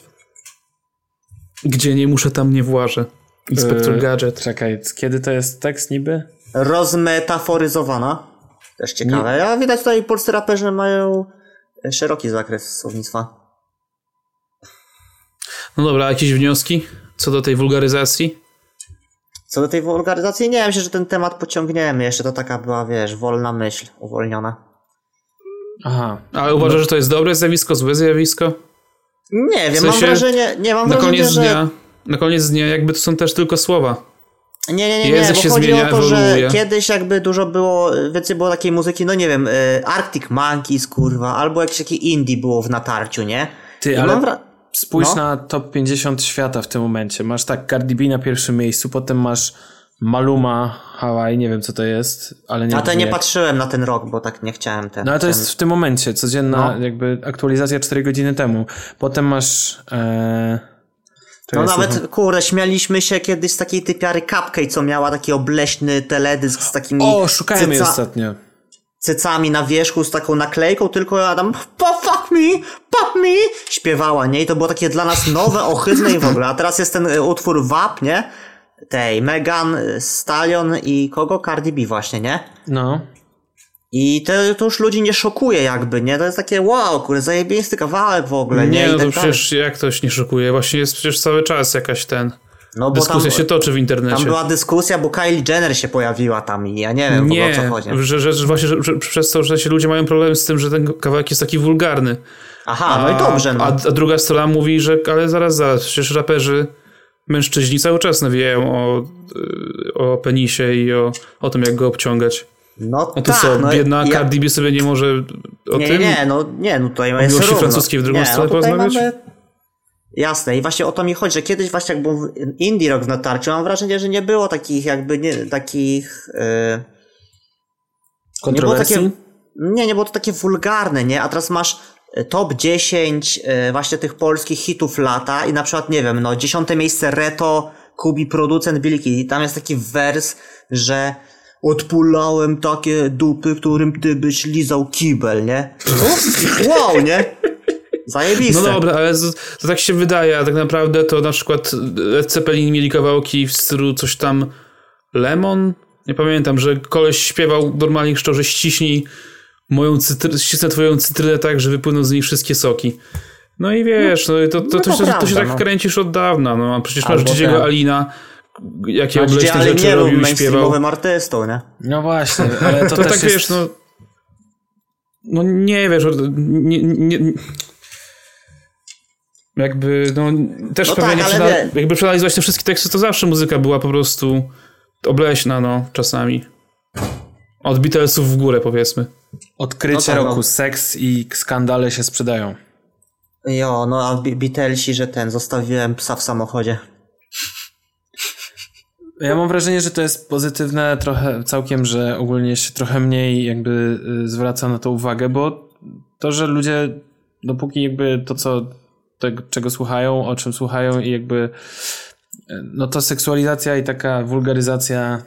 [SPEAKER 6] Gdzie nie muszę, tam nie włażę. Inspektor
[SPEAKER 2] Yy,
[SPEAKER 6] Gadżet.
[SPEAKER 2] Czekaj, kiedy to jest tekst niby?
[SPEAKER 4] Rozmetaforyzowana. Też ciekawe. A widać tutaj polscy raperzy mają szeroki zakres słownictwa.
[SPEAKER 6] No dobra, a jakieś wnioski co do tej wulgaryzacji?
[SPEAKER 4] Co do tej wulgaryzacji, nie myślę, że ten temat pociągniemy. Jeszcze to taka była, wiesz, wolna myśl, uwolniona.
[SPEAKER 2] Aha.
[SPEAKER 6] Ale
[SPEAKER 4] No.
[SPEAKER 6] uważasz, że to jest dobre zjawisko, złe zjawisko?
[SPEAKER 4] Nie wiem, mam
[SPEAKER 6] sensie,
[SPEAKER 4] wrażenie, nie mam
[SPEAKER 6] Na
[SPEAKER 4] wrażenia,
[SPEAKER 6] koniec
[SPEAKER 4] że...
[SPEAKER 6] dnia, na koniec dnia jakby to są też tylko słowa.
[SPEAKER 4] Nie, nie, nie, nie,
[SPEAKER 6] Język
[SPEAKER 4] bo
[SPEAKER 6] się
[SPEAKER 4] chodzi
[SPEAKER 6] zmienia,
[SPEAKER 4] o to,
[SPEAKER 6] ewoluuje.
[SPEAKER 4] że kiedyś jakby dużo było, więcej było takiej muzyki, no nie wiem, y, Arctic Monkeys, kurwa, albo jakiś taki indie było w natarciu, nie?
[SPEAKER 2] Ty,
[SPEAKER 4] I
[SPEAKER 2] ale
[SPEAKER 4] mam wra-
[SPEAKER 2] Spójrz
[SPEAKER 4] No.
[SPEAKER 2] na top 50 świata w tym momencie. Masz tak Cardi B na pierwszym miejscu, potem masz Maluma, Hawaii, nie wiem co to jest, ale nie
[SPEAKER 4] A to
[SPEAKER 2] wiem
[SPEAKER 4] nie
[SPEAKER 2] jak.
[SPEAKER 4] patrzyłem na ten rok, bo tak nie chciałem ten.
[SPEAKER 2] No ale to jest w tym momencie, codzienna jakby aktualizacja 4 godziny temu. Potem masz... E...
[SPEAKER 4] No
[SPEAKER 2] czekaj,
[SPEAKER 4] nawet,
[SPEAKER 2] słucham.
[SPEAKER 4] kurde, śmialiśmy się kiedyś z takiej typiary Cupcake, co miała taki obleśny teledysk z takimi
[SPEAKER 2] O, szukałem jej
[SPEAKER 4] cyca-
[SPEAKER 2] ostatnio.
[SPEAKER 4] cycami na wierzchu, z taką naklejką, tylko Adam, "Po- fuck me, pop me, śpiewała, nie? I to było takie dla nas nowe, ohydne i w ogóle. A teraz jest ten y, utwór WAP, nie? Tej, Megan, y, Stallion i kogo? Cardi B właśnie, nie?
[SPEAKER 2] No.
[SPEAKER 4] I to, to już ludzi nie szokuje jakby, nie? To jest takie wow, kurde, zajebisty kawałek w ogóle, nie?
[SPEAKER 6] Nie,
[SPEAKER 4] I
[SPEAKER 6] no
[SPEAKER 4] tak
[SPEAKER 6] to
[SPEAKER 4] dalej.
[SPEAKER 6] przecież jak ktoś nie szokuje? Właśnie jest przecież cały czas jakaś ten...
[SPEAKER 4] no, bo tam,
[SPEAKER 6] Dyskusja się toczy w
[SPEAKER 4] tam
[SPEAKER 6] internecie.
[SPEAKER 4] była dyskusja, bo Kylie Jenner się pojawiła tam i ja nie wiem w
[SPEAKER 6] Nie,
[SPEAKER 4] ogóle o co chodzi.
[SPEAKER 6] że, że, że właśnie że, że, przez to, że się ludzie mają problem z tym, że ten kawałek jest taki wulgarny.
[SPEAKER 4] Aha, no i dobrze, no.
[SPEAKER 6] A, a druga strona mówi, że ale zaraz, zaraz, przecież raperzy, mężczyźni cały czas nawijają o, y, o penisie i o, o tym, jak go obciągać.
[SPEAKER 4] No
[SPEAKER 6] A tu
[SPEAKER 4] tak,
[SPEAKER 6] co,
[SPEAKER 4] no,
[SPEAKER 6] biedna
[SPEAKER 4] ja-
[SPEAKER 6] Cardi B sobie nie może o
[SPEAKER 4] nie,
[SPEAKER 6] tym?
[SPEAKER 4] nie, no nie, no tutaj jest
[SPEAKER 6] miłości
[SPEAKER 4] równo.
[SPEAKER 6] francuskiej w drugą
[SPEAKER 4] nie,
[SPEAKER 6] stronę
[SPEAKER 4] no tutaj
[SPEAKER 6] porozmawiać?
[SPEAKER 4] mamy- Jasne, i właśnie o to mi chodzi, że kiedyś właśnie jak był w- indie rock w natarciu, mam wrażenie, że nie było takich jakby, nie, takich... Yy, nie było
[SPEAKER 2] Kontrowersji?
[SPEAKER 4] takie, nie, nie było to takie wulgarne, nie? A teraz masz e, top 10 e, właśnie tych polskich hitów lata i na przykład, nie wiem, no, dziesiąte miejsce Reto, Kubi, producent Wilki. I tam jest taki wers, że odpulałem takie dupy, którym ty byś lizał kibel, nie? Wow, nie? Zajebiste.
[SPEAKER 6] No dobra, ale z- to tak się wydaje, a tak naprawdę to na przykład Led Zeppelin mieli kawałki w stylu coś tam Lemon? Nie pamiętam, że koleś śpiewał normalnie szczerze ściśnij moją cytry- ścisnę twoją cytrynę tak, że wypłyną z niej wszystkie soki. No i wiesz, no, i to, to, to,
[SPEAKER 4] to
[SPEAKER 6] się, to się
[SPEAKER 4] prawda,
[SPEAKER 6] tak
[SPEAKER 4] no.
[SPEAKER 6] kręcisz od dawna, no a przecież masz
[SPEAKER 4] Albo
[SPEAKER 6] Dzidziego
[SPEAKER 4] ten.
[SPEAKER 6] Alina, jakie
[SPEAKER 4] Gdzie,
[SPEAKER 6] obleśne
[SPEAKER 4] ale
[SPEAKER 6] rzeczy
[SPEAKER 4] nie był
[SPEAKER 6] robił i śpiewał.
[SPEAKER 4] mainstreamowym artystą, nie?
[SPEAKER 2] No właśnie, ale to,
[SPEAKER 6] To
[SPEAKER 2] też
[SPEAKER 6] tak
[SPEAKER 2] jest...
[SPEAKER 6] wiesz, no. No nie wiesz, nie, nie, nie, jakby, no też
[SPEAKER 4] No
[SPEAKER 6] pewnie
[SPEAKER 4] tak,
[SPEAKER 6] nie
[SPEAKER 4] ale
[SPEAKER 6] przeanaliz-
[SPEAKER 4] nie.
[SPEAKER 6] jakby przeanalizować te wszystkie teksty, to zawsze muzyka była po prostu obleśna, no, czasami. Od Beatlesów w górę, powiedzmy.
[SPEAKER 2] Odkrycie
[SPEAKER 4] No tak, no.
[SPEAKER 2] roku, seks i skandale się sprzedają.
[SPEAKER 4] Jo, no a Bi- Beatlesi, że ten, zostawiłem psa w samochodzie.
[SPEAKER 2] Ja mam wrażenie, że to jest pozytywne trochę całkiem, że ogólnie się trochę mniej jakby y, zwraca na to uwagę, bo to, że ludzie dopóki jakby to, co, tego, czego słuchają, o czym słuchają i jakby e, no to seksualizacja i taka wulgaryzacja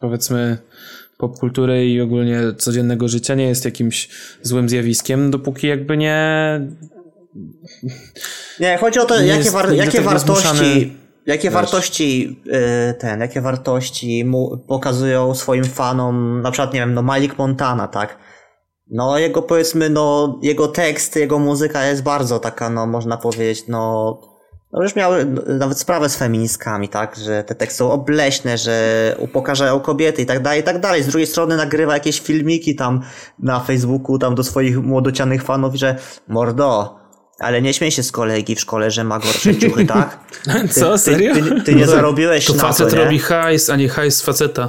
[SPEAKER 2] powiedzmy popkultury i ogólnie codziennego życia nie jest jakimś złym zjawiskiem, dopóki jakby nie
[SPEAKER 4] Nie, chodzi o to,
[SPEAKER 2] Nie
[SPEAKER 4] jakie,
[SPEAKER 2] jest
[SPEAKER 4] war,
[SPEAKER 2] do
[SPEAKER 4] jakie
[SPEAKER 2] tego zmuszany,
[SPEAKER 4] wartości. Jakie wartości y, ten, jakie wartości mu pokazują swoim fanom, na przykład, nie wiem, no Malik Montana, tak? No jego powiedzmy, no jego tekst, jego muzyka jest bardzo taka, no można powiedzieć, no. No już miał nawet sprawę z feministkami, tak? Że te teksty są obleśne, że upokarzają kobiety i tak dalej, i tak dalej. Z drugiej strony nagrywa jakieś filmiki tam na Facebooku, tam do swoich młodocianych fanów, że mordo, ale nie śmiej się z kolegi w szkole, że ma gorsze ciuchy, tak?
[SPEAKER 2] Co? Serio?
[SPEAKER 4] Ty, ty, ty nie zarobiłeś
[SPEAKER 6] No To
[SPEAKER 4] na
[SPEAKER 6] facet
[SPEAKER 4] to, nie?
[SPEAKER 6] robi hajs, a nie hajs faceta.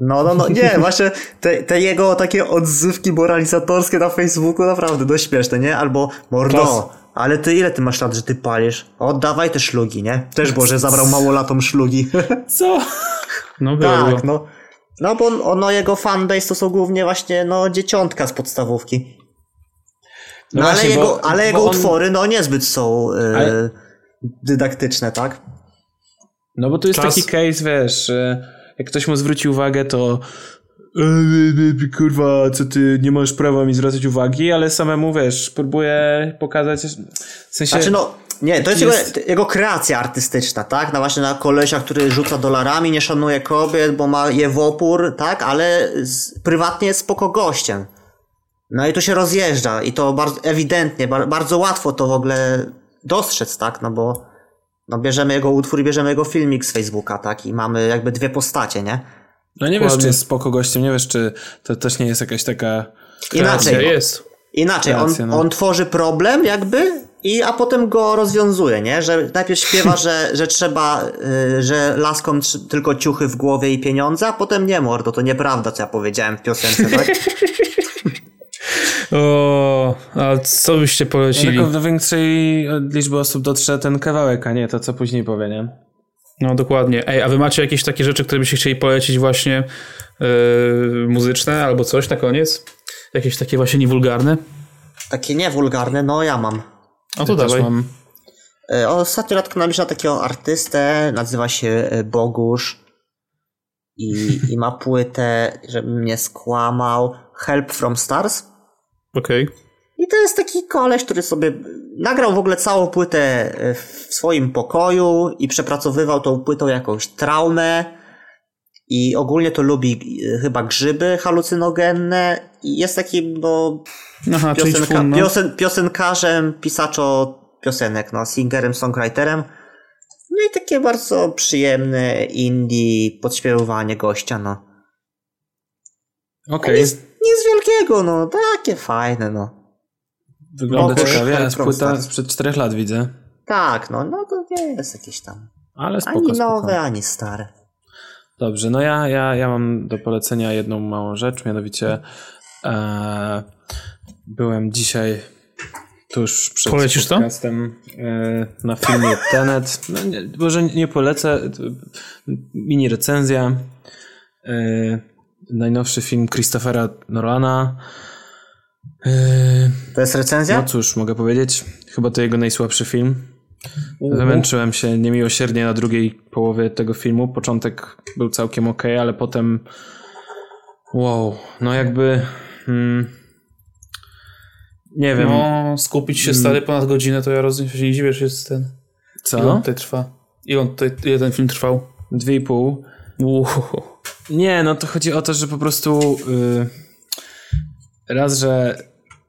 [SPEAKER 4] No, no, no, nie, właśnie te, te jego takie odzywki moralizatorskie na Facebooku naprawdę dość śmieszne, nie? Albo mordo, ale ty ile ty masz lat, że ty palisz? Oddawaj te szlugi, nie? Też Boże, zabrał małolatom szlugi.
[SPEAKER 2] co?
[SPEAKER 6] No było. było.
[SPEAKER 4] tak, no. No bo on, ono, jego fanbase to są głównie właśnie, no, dzieciątka z podstawówki. No,
[SPEAKER 2] właśnie,
[SPEAKER 4] ale
[SPEAKER 2] bo-
[SPEAKER 4] jego, ale jego
[SPEAKER 2] bo on-
[SPEAKER 4] utwory, no, niezbyt są e,
[SPEAKER 2] Ale-
[SPEAKER 4] dydaktyczne, tak?
[SPEAKER 2] No bo to jest
[SPEAKER 6] Czas.
[SPEAKER 2] taki case, wiesz, że jak ktoś mu zwróci uwagę, to "E, e, e, kurwa, co ty, nie masz prawa mi zwracać uwagi, ale samemu, wiesz, próbuje pokazać, w sensie...
[SPEAKER 4] Znaczy no, nie, to jest,
[SPEAKER 2] Jest-
[SPEAKER 4] Jego, jego kreacja artystyczna, tak? Na właśnie na kolesia, który rzuca dolarami, nie szanuje kobiet, bo ma je w opór, tak? Ale z, prywatnie jest spoko gościem. No i tu się rozjeżdża i to bardzo ewidentnie, bar, bardzo łatwo to w ogóle dostrzec, tak? No bo no bierzemy jego utwór i bierzemy jego filmik z Facebooka, tak? I mamy jakby dwie postacie, nie?
[SPEAKER 2] No nie wiesz,
[SPEAKER 6] Dokładnie.
[SPEAKER 2] czy jest spoko gościem, nie wiesz, czy to też nie jest jakaś taka...
[SPEAKER 6] Racja
[SPEAKER 4] Inaczej,
[SPEAKER 6] Tak,
[SPEAKER 4] no.
[SPEAKER 6] jest.
[SPEAKER 4] Inaczej, on,
[SPEAKER 2] Racja, no.
[SPEAKER 4] on tworzy problem jakby, i, a potem go rozwiązuje, nie? Że najpierw śpiewa, że, że trzeba, y, że laskom trz- tylko ciuchy w głowie i pieniądze, a potem nie mordo, to nieprawda, co ja powiedziałem w piosence, tak?
[SPEAKER 6] O, a co byście polecili?
[SPEAKER 2] Tylko do większej liczby osób dotrze ten kawałek, a nie to, co później powie, nie?
[SPEAKER 6] No dokładnie. Ej, a wy macie jakieś takie rzeczy, które byście chcieli polecić właśnie yy, muzyczne albo coś na koniec? Jakieś takie właśnie niewulgarne?
[SPEAKER 4] Takie niewulgarne, no ja mam.
[SPEAKER 6] No to
[SPEAKER 2] Też
[SPEAKER 6] dawaj.
[SPEAKER 2] mam.
[SPEAKER 4] Y, Ostatnio natknąłem się na takiego artystę, nazywa się y, Bogusz i, i ma płytę, żebym mnie skłamał, Help from Stars.
[SPEAKER 6] Okej.
[SPEAKER 4] I to jest taki koleś, który sobie nagrał w ogóle całą płytę e, w swoim pokoju i przepracowywał tą płytą jakąś traumę. I ogólnie to lubi e, chyba grzyby halucynogenne. I jest takim no,
[SPEAKER 6] Aha, czyli
[SPEAKER 4] piosenka,
[SPEAKER 6] czwun, no.
[SPEAKER 4] piosen, piosenkarzem, pisaczo piosenek, no, singerem, songwriterem. No i takie bardzo przyjemne indie podśpiewywanie gościa, no.
[SPEAKER 2] Okej,
[SPEAKER 4] Nic, nic wielkiego, no, takie fajne, no.
[SPEAKER 6] No,
[SPEAKER 2] wygląda
[SPEAKER 4] Bogusz,
[SPEAKER 2] ciekawie,
[SPEAKER 4] Help
[SPEAKER 2] jest
[SPEAKER 4] from
[SPEAKER 2] płyta
[SPEAKER 4] Stars.
[SPEAKER 2] sprzed czterech lat widzę,
[SPEAKER 4] Tak, no, no to nie jest jakieś tam.
[SPEAKER 2] ale spoko,
[SPEAKER 4] Ani
[SPEAKER 2] spoko.
[SPEAKER 4] nowe, ani stare.
[SPEAKER 2] Dobrze, no ja, ja, ja mam do polecenia jedną małą rzecz, mianowicie e, byłem dzisiaj tuż przed
[SPEAKER 6] Polecisz to?
[SPEAKER 2] podcastem e, na filmie Tenet. No nie, może nie polecę, to mini recenzja. E, najnowszy film Christophera Nolana. E,
[SPEAKER 4] To jest recenzja?
[SPEAKER 2] no cóż, mogę powiedzieć, chyba to jego najsłabszy film. Wymęczyłem się niemiłosiernie na drugiej połowie tego filmu. Początek był całkiem ok, ale potem. Wow, no jakby. Mm, nie wiem,
[SPEAKER 6] No, skupić się stary ponad godzinę, to ja rozumiem, się nie dziwię, że jest ten. Ile on
[SPEAKER 2] co?
[SPEAKER 6] tutaj trwa? Ile, on tutaj, ile ten film trwał?
[SPEAKER 2] Dwie i pół.
[SPEAKER 6] Uuu.
[SPEAKER 2] Nie, no to chodzi o to, że po prostu y, raz, że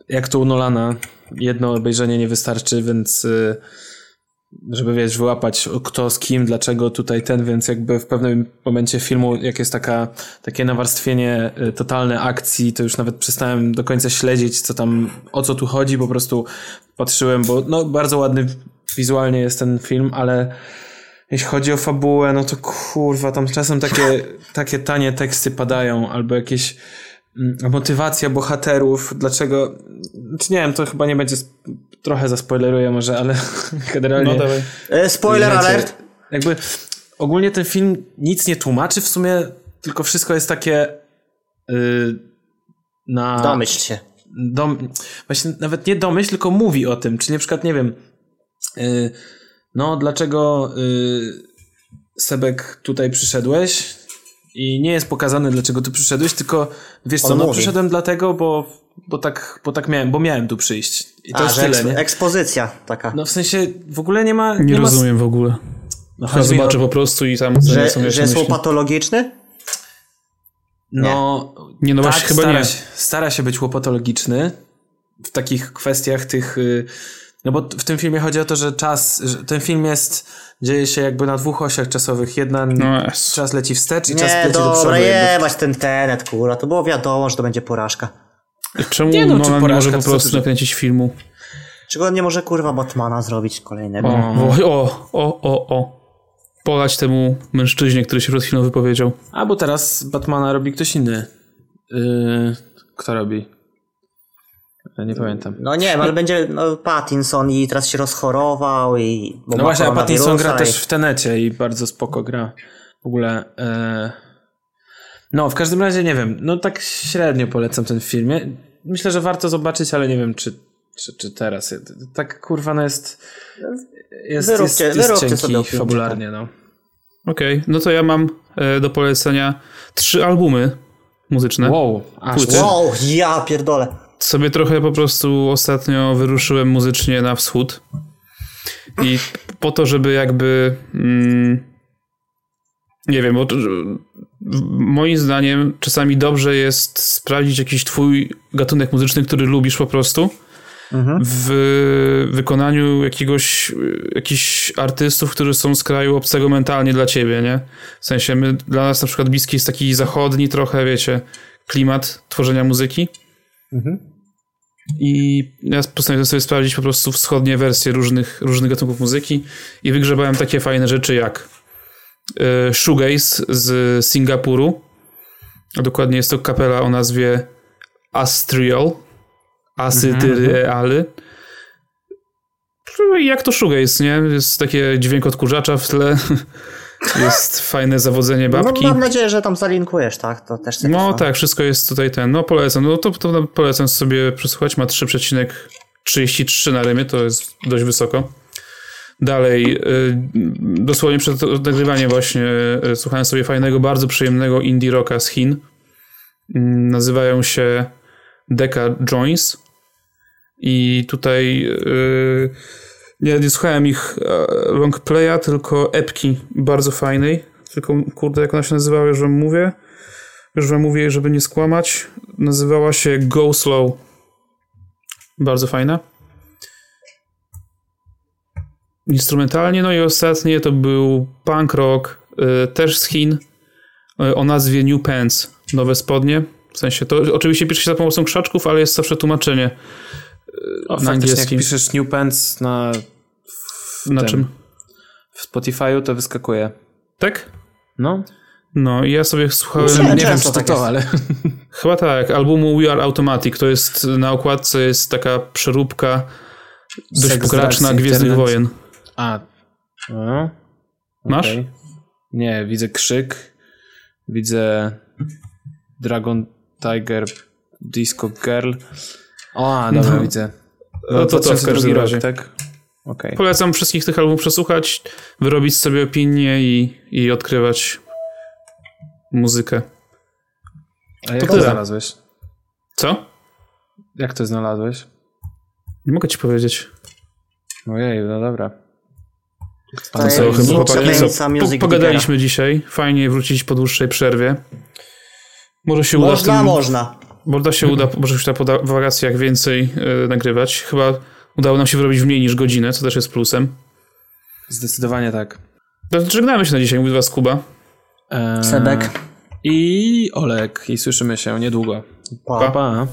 [SPEAKER 2] jak to u Nolana, jedno obejrzenie nie wystarczy, więc y, żeby wiesz, wyłapać kto z kim, dlaczego tutaj ten, więc jakby w pewnym momencie filmu, jak jest taka, takie nawarstwienie y, totalne akcji, to już nawet przestałem do końca śledzić, co tam, o co tu chodzi, po prostu patrzyłem, bo no bardzo ładny wizualnie jest ten film, ale jeśli chodzi o fabułę, no to kurwa, tam czasem takie, takie tanie teksty padają, albo jakieś mm, motywacja bohaterów, dlaczego, czy nie wiem, to chyba nie będzie, sp- trochę zaspoileruję może, ale generalnie...
[SPEAKER 6] No dawaj.
[SPEAKER 4] E, spoiler
[SPEAKER 2] Znacie,
[SPEAKER 4] alert.
[SPEAKER 2] Jakby ogólnie ten film nic nie tłumaczy w sumie, tylko wszystko jest takie y, na
[SPEAKER 4] Domyśl się.
[SPEAKER 2] dom, właśnie nawet nie domyśl, tylko mówi o tym. Czyli na przykład, nie wiem, y, no dlaczego y, Sebek tutaj przyszedłeś i nie jest pokazane, dlaczego tu przyszedłeś, tylko wiesz co,
[SPEAKER 4] On
[SPEAKER 2] no
[SPEAKER 4] mówi.
[SPEAKER 2] przyszedłem dlatego, bo, bo, tak, bo tak miałem, bo miałem tu przyjść. I to
[SPEAKER 4] A,
[SPEAKER 2] jest
[SPEAKER 4] że
[SPEAKER 2] tyle,
[SPEAKER 4] eks-
[SPEAKER 2] nie?
[SPEAKER 4] ekspozycja taka.
[SPEAKER 2] No w sensie w ogóle nie ma...
[SPEAKER 6] Nie,
[SPEAKER 2] ma s-
[SPEAKER 6] rozumiem w ogóle.
[SPEAKER 2] No,
[SPEAKER 6] Ja
[SPEAKER 2] chodzi mi o-
[SPEAKER 6] zobaczę po prostu i tam ocenię, co
[SPEAKER 4] że
[SPEAKER 6] miałeś
[SPEAKER 4] że
[SPEAKER 6] na
[SPEAKER 4] jest
[SPEAKER 6] myśli.
[SPEAKER 4] łopatologiczny?
[SPEAKER 2] No,
[SPEAKER 6] Nie, no
[SPEAKER 2] tak,
[SPEAKER 6] właśnie chyba
[SPEAKER 2] stara
[SPEAKER 6] nie.
[SPEAKER 2] Się, stara się być łopatologiczny w takich kwestiach tych. y, No bo t- w tym filmie chodzi o to, że czas. Że ten film jest. Dzieje się jakby na dwóch osiach czasowych. Jedna.
[SPEAKER 6] No jest.
[SPEAKER 2] Czas leci wstecz i czas
[SPEAKER 4] Nie,
[SPEAKER 2] leci do przodu.
[SPEAKER 4] dobra,
[SPEAKER 2] jakby.
[SPEAKER 4] jebać ten tenet, kurwa. To było wiadomo, że to będzie porażka.
[SPEAKER 6] Czemu
[SPEAKER 2] Nie,
[SPEAKER 6] nie,
[SPEAKER 2] no, czy
[SPEAKER 6] Nolan nie
[SPEAKER 2] porażka, co
[SPEAKER 6] może po
[SPEAKER 2] ty-
[SPEAKER 6] prostu nakręcić filmu?
[SPEAKER 4] Czego on nie może, kurwa, Batmana zrobić kolejnego?
[SPEAKER 6] O, o, o, o, o. Polać temu mężczyźnie, który się przed chwilą wypowiedział.
[SPEAKER 2] A bo teraz Batmana robi ktoś inny. Y, kto robi? Ja nie pamiętam.
[SPEAKER 4] No nie wiem, ale będzie no, Pattinson i teraz się rozchorował i... bo
[SPEAKER 2] No
[SPEAKER 4] ma
[SPEAKER 2] właśnie, a Pattinson gra
[SPEAKER 4] koronawirusa
[SPEAKER 2] też
[SPEAKER 4] i-
[SPEAKER 2] w Tenecie i bardzo spoko gra. W ogóle. E... No, w każdym razie nie wiem. No tak średnio polecam ten film. Ja- Myślę, że warto zobaczyć, ale nie wiem, czy, czy, czy teraz. Ja- Tak kurwa, no jest. Jest, jest,
[SPEAKER 4] Wyróbcie-
[SPEAKER 2] jest
[SPEAKER 4] wyróbcie
[SPEAKER 2] cienki
[SPEAKER 4] sobie tak. opinię,
[SPEAKER 2] fabularnie, no.
[SPEAKER 6] Okej, no to ja mam e, do polecenia trzy albumy muzyczne.
[SPEAKER 2] Wow, aż
[SPEAKER 6] Płyty.
[SPEAKER 2] wow.
[SPEAKER 4] Wow, ja pierdolę.
[SPEAKER 6] Sobie trochę po prostu ostatnio wyruszyłem muzycznie na wschód. I po to, żeby jakby. Mm, nie wiem, bo to, że- moim zdaniem czasami dobrze jest sprawdzić jakiś twój gatunek muzyczny, który lubisz po prostu. W wykonaniu jakiegoś, jakichś artystów, którzy są z kraju obcego mentalnie dla ciebie, nie? W sensie my, dla nas na przykład bliski jest taki zachodni trochę, wiecie, klimat tworzenia muzyki. I ja postanowiłem sobie sprawdzić po prostu wschodnie wersje różnych, różnych gatunków muzyki i wygrzebałem takie fajne rzeczy jak y, shoegaze z Singapuru. A dokładnie jest to kapela o nazwie Astrial. Asytyrealy. No Jak to shoegaze, nie? Jest takie dźwięk odkurzacza w tle. Jest fajne zawodzenie
[SPEAKER 4] No,
[SPEAKER 6] babki.
[SPEAKER 4] mam nadzieję, że tam zalinkujesz, tak? To też sobie
[SPEAKER 6] No
[SPEAKER 4] to-
[SPEAKER 6] tak, wszystko jest tutaj ten. No polecam. No to, to polecam sobie przesłuchać. Ma 3,33 na rymie, to jest dość wysoko. Dalej, y, dosłownie przed nagrywaniem właśnie y, słuchałem sobie fajnego, bardzo przyjemnego indie rocka z Chin. Y, Nazywają się Deca Joins. I tutaj y, nie, nie słuchałem ich e, long playa, tylko epki bardzo fajnej. Tylko kurde, jak ona się nazywała, już wam mówię już wam mówię, żeby nie skłamać, nazywała się Go Slow. Bardzo fajna. Instrumentalnie, no i ostatnie to był punk rock, y, też z Chin, y, o nazwie New Pants, nowe spodnie. W sensie to oczywiście pisze się za pomocą krzaczków, ale jest zawsze tłumaczenie e,
[SPEAKER 2] O,
[SPEAKER 6] na
[SPEAKER 2] faktycznie, jak
[SPEAKER 6] angielskim.
[SPEAKER 2] piszesz New Pants na
[SPEAKER 6] Na
[SPEAKER 2] tym.
[SPEAKER 6] czym?
[SPEAKER 2] w Spotify'u, to wyskakuje.
[SPEAKER 6] Tak?
[SPEAKER 2] No,
[SPEAKER 6] No i ja sobie słuchałem.
[SPEAKER 4] Czemu?
[SPEAKER 2] nie wiem,
[SPEAKER 4] często
[SPEAKER 2] czy to
[SPEAKER 4] tak
[SPEAKER 2] to,
[SPEAKER 4] jest.
[SPEAKER 2] ale.
[SPEAKER 6] Chyba tak, albumu We Are Automatic. To jest na okładce jest taka przeróbka dość
[SPEAKER 2] Seks,
[SPEAKER 6] pokraczna
[SPEAKER 2] drugs,
[SPEAKER 6] Gwiezdnych
[SPEAKER 2] internet.
[SPEAKER 6] Wojen.
[SPEAKER 2] A. No,
[SPEAKER 6] Masz?
[SPEAKER 2] okej. Nie, widzę krzyk. Widzę Dragon Tiger Disco Girl. O, a, dobra,
[SPEAKER 6] No.
[SPEAKER 2] widzę.
[SPEAKER 6] No to co w
[SPEAKER 2] 2002
[SPEAKER 6] każdym
[SPEAKER 2] rok,
[SPEAKER 6] razie.
[SPEAKER 2] tak? Okej.
[SPEAKER 6] Polecam wszystkich tych albumów przesłuchać, wyrobić sobie opinie i, i odkrywać muzykę.
[SPEAKER 2] A jak to,
[SPEAKER 6] tyle.
[SPEAKER 2] znalazłeś?
[SPEAKER 6] Co?
[SPEAKER 2] Jak to znalazłeś?
[SPEAKER 6] Nie mogę ci powiedzieć.
[SPEAKER 2] Ojej, no dobra.
[SPEAKER 4] To
[SPEAKER 6] Co,
[SPEAKER 4] jest
[SPEAKER 6] chyba
[SPEAKER 4] Złuca
[SPEAKER 6] chłopaki,
[SPEAKER 4] Benza
[SPEAKER 6] co?
[SPEAKER 4] Music
[SPEAKER 6] Po, pogadaliśmy dzisiaj. Fajnie wrócić po dłuższej przerwie. Może się uda. w
[SPEAKER 4] Można,
[SPEAKER 6] tym-
[SPEAKER 4] można.
[SPEAKER 6] Borda się uda, może się uda po da- wakacjach więcej yy, nagrywać. Chyba udało nam się wyrobić w mniej niż godzinę, co też jest plusem.
[SPEAKER 2] Zdecydowanie tak.
[SPEAKER 6] To Żegnamy się na dzisiaj, mówi was Kuba.
[SPEAKER 2] Eee,
[SPEAKER 4] Sebek.
[SPEAKER 2] I Olek. I słyszymy się niedługo. Pa, pa.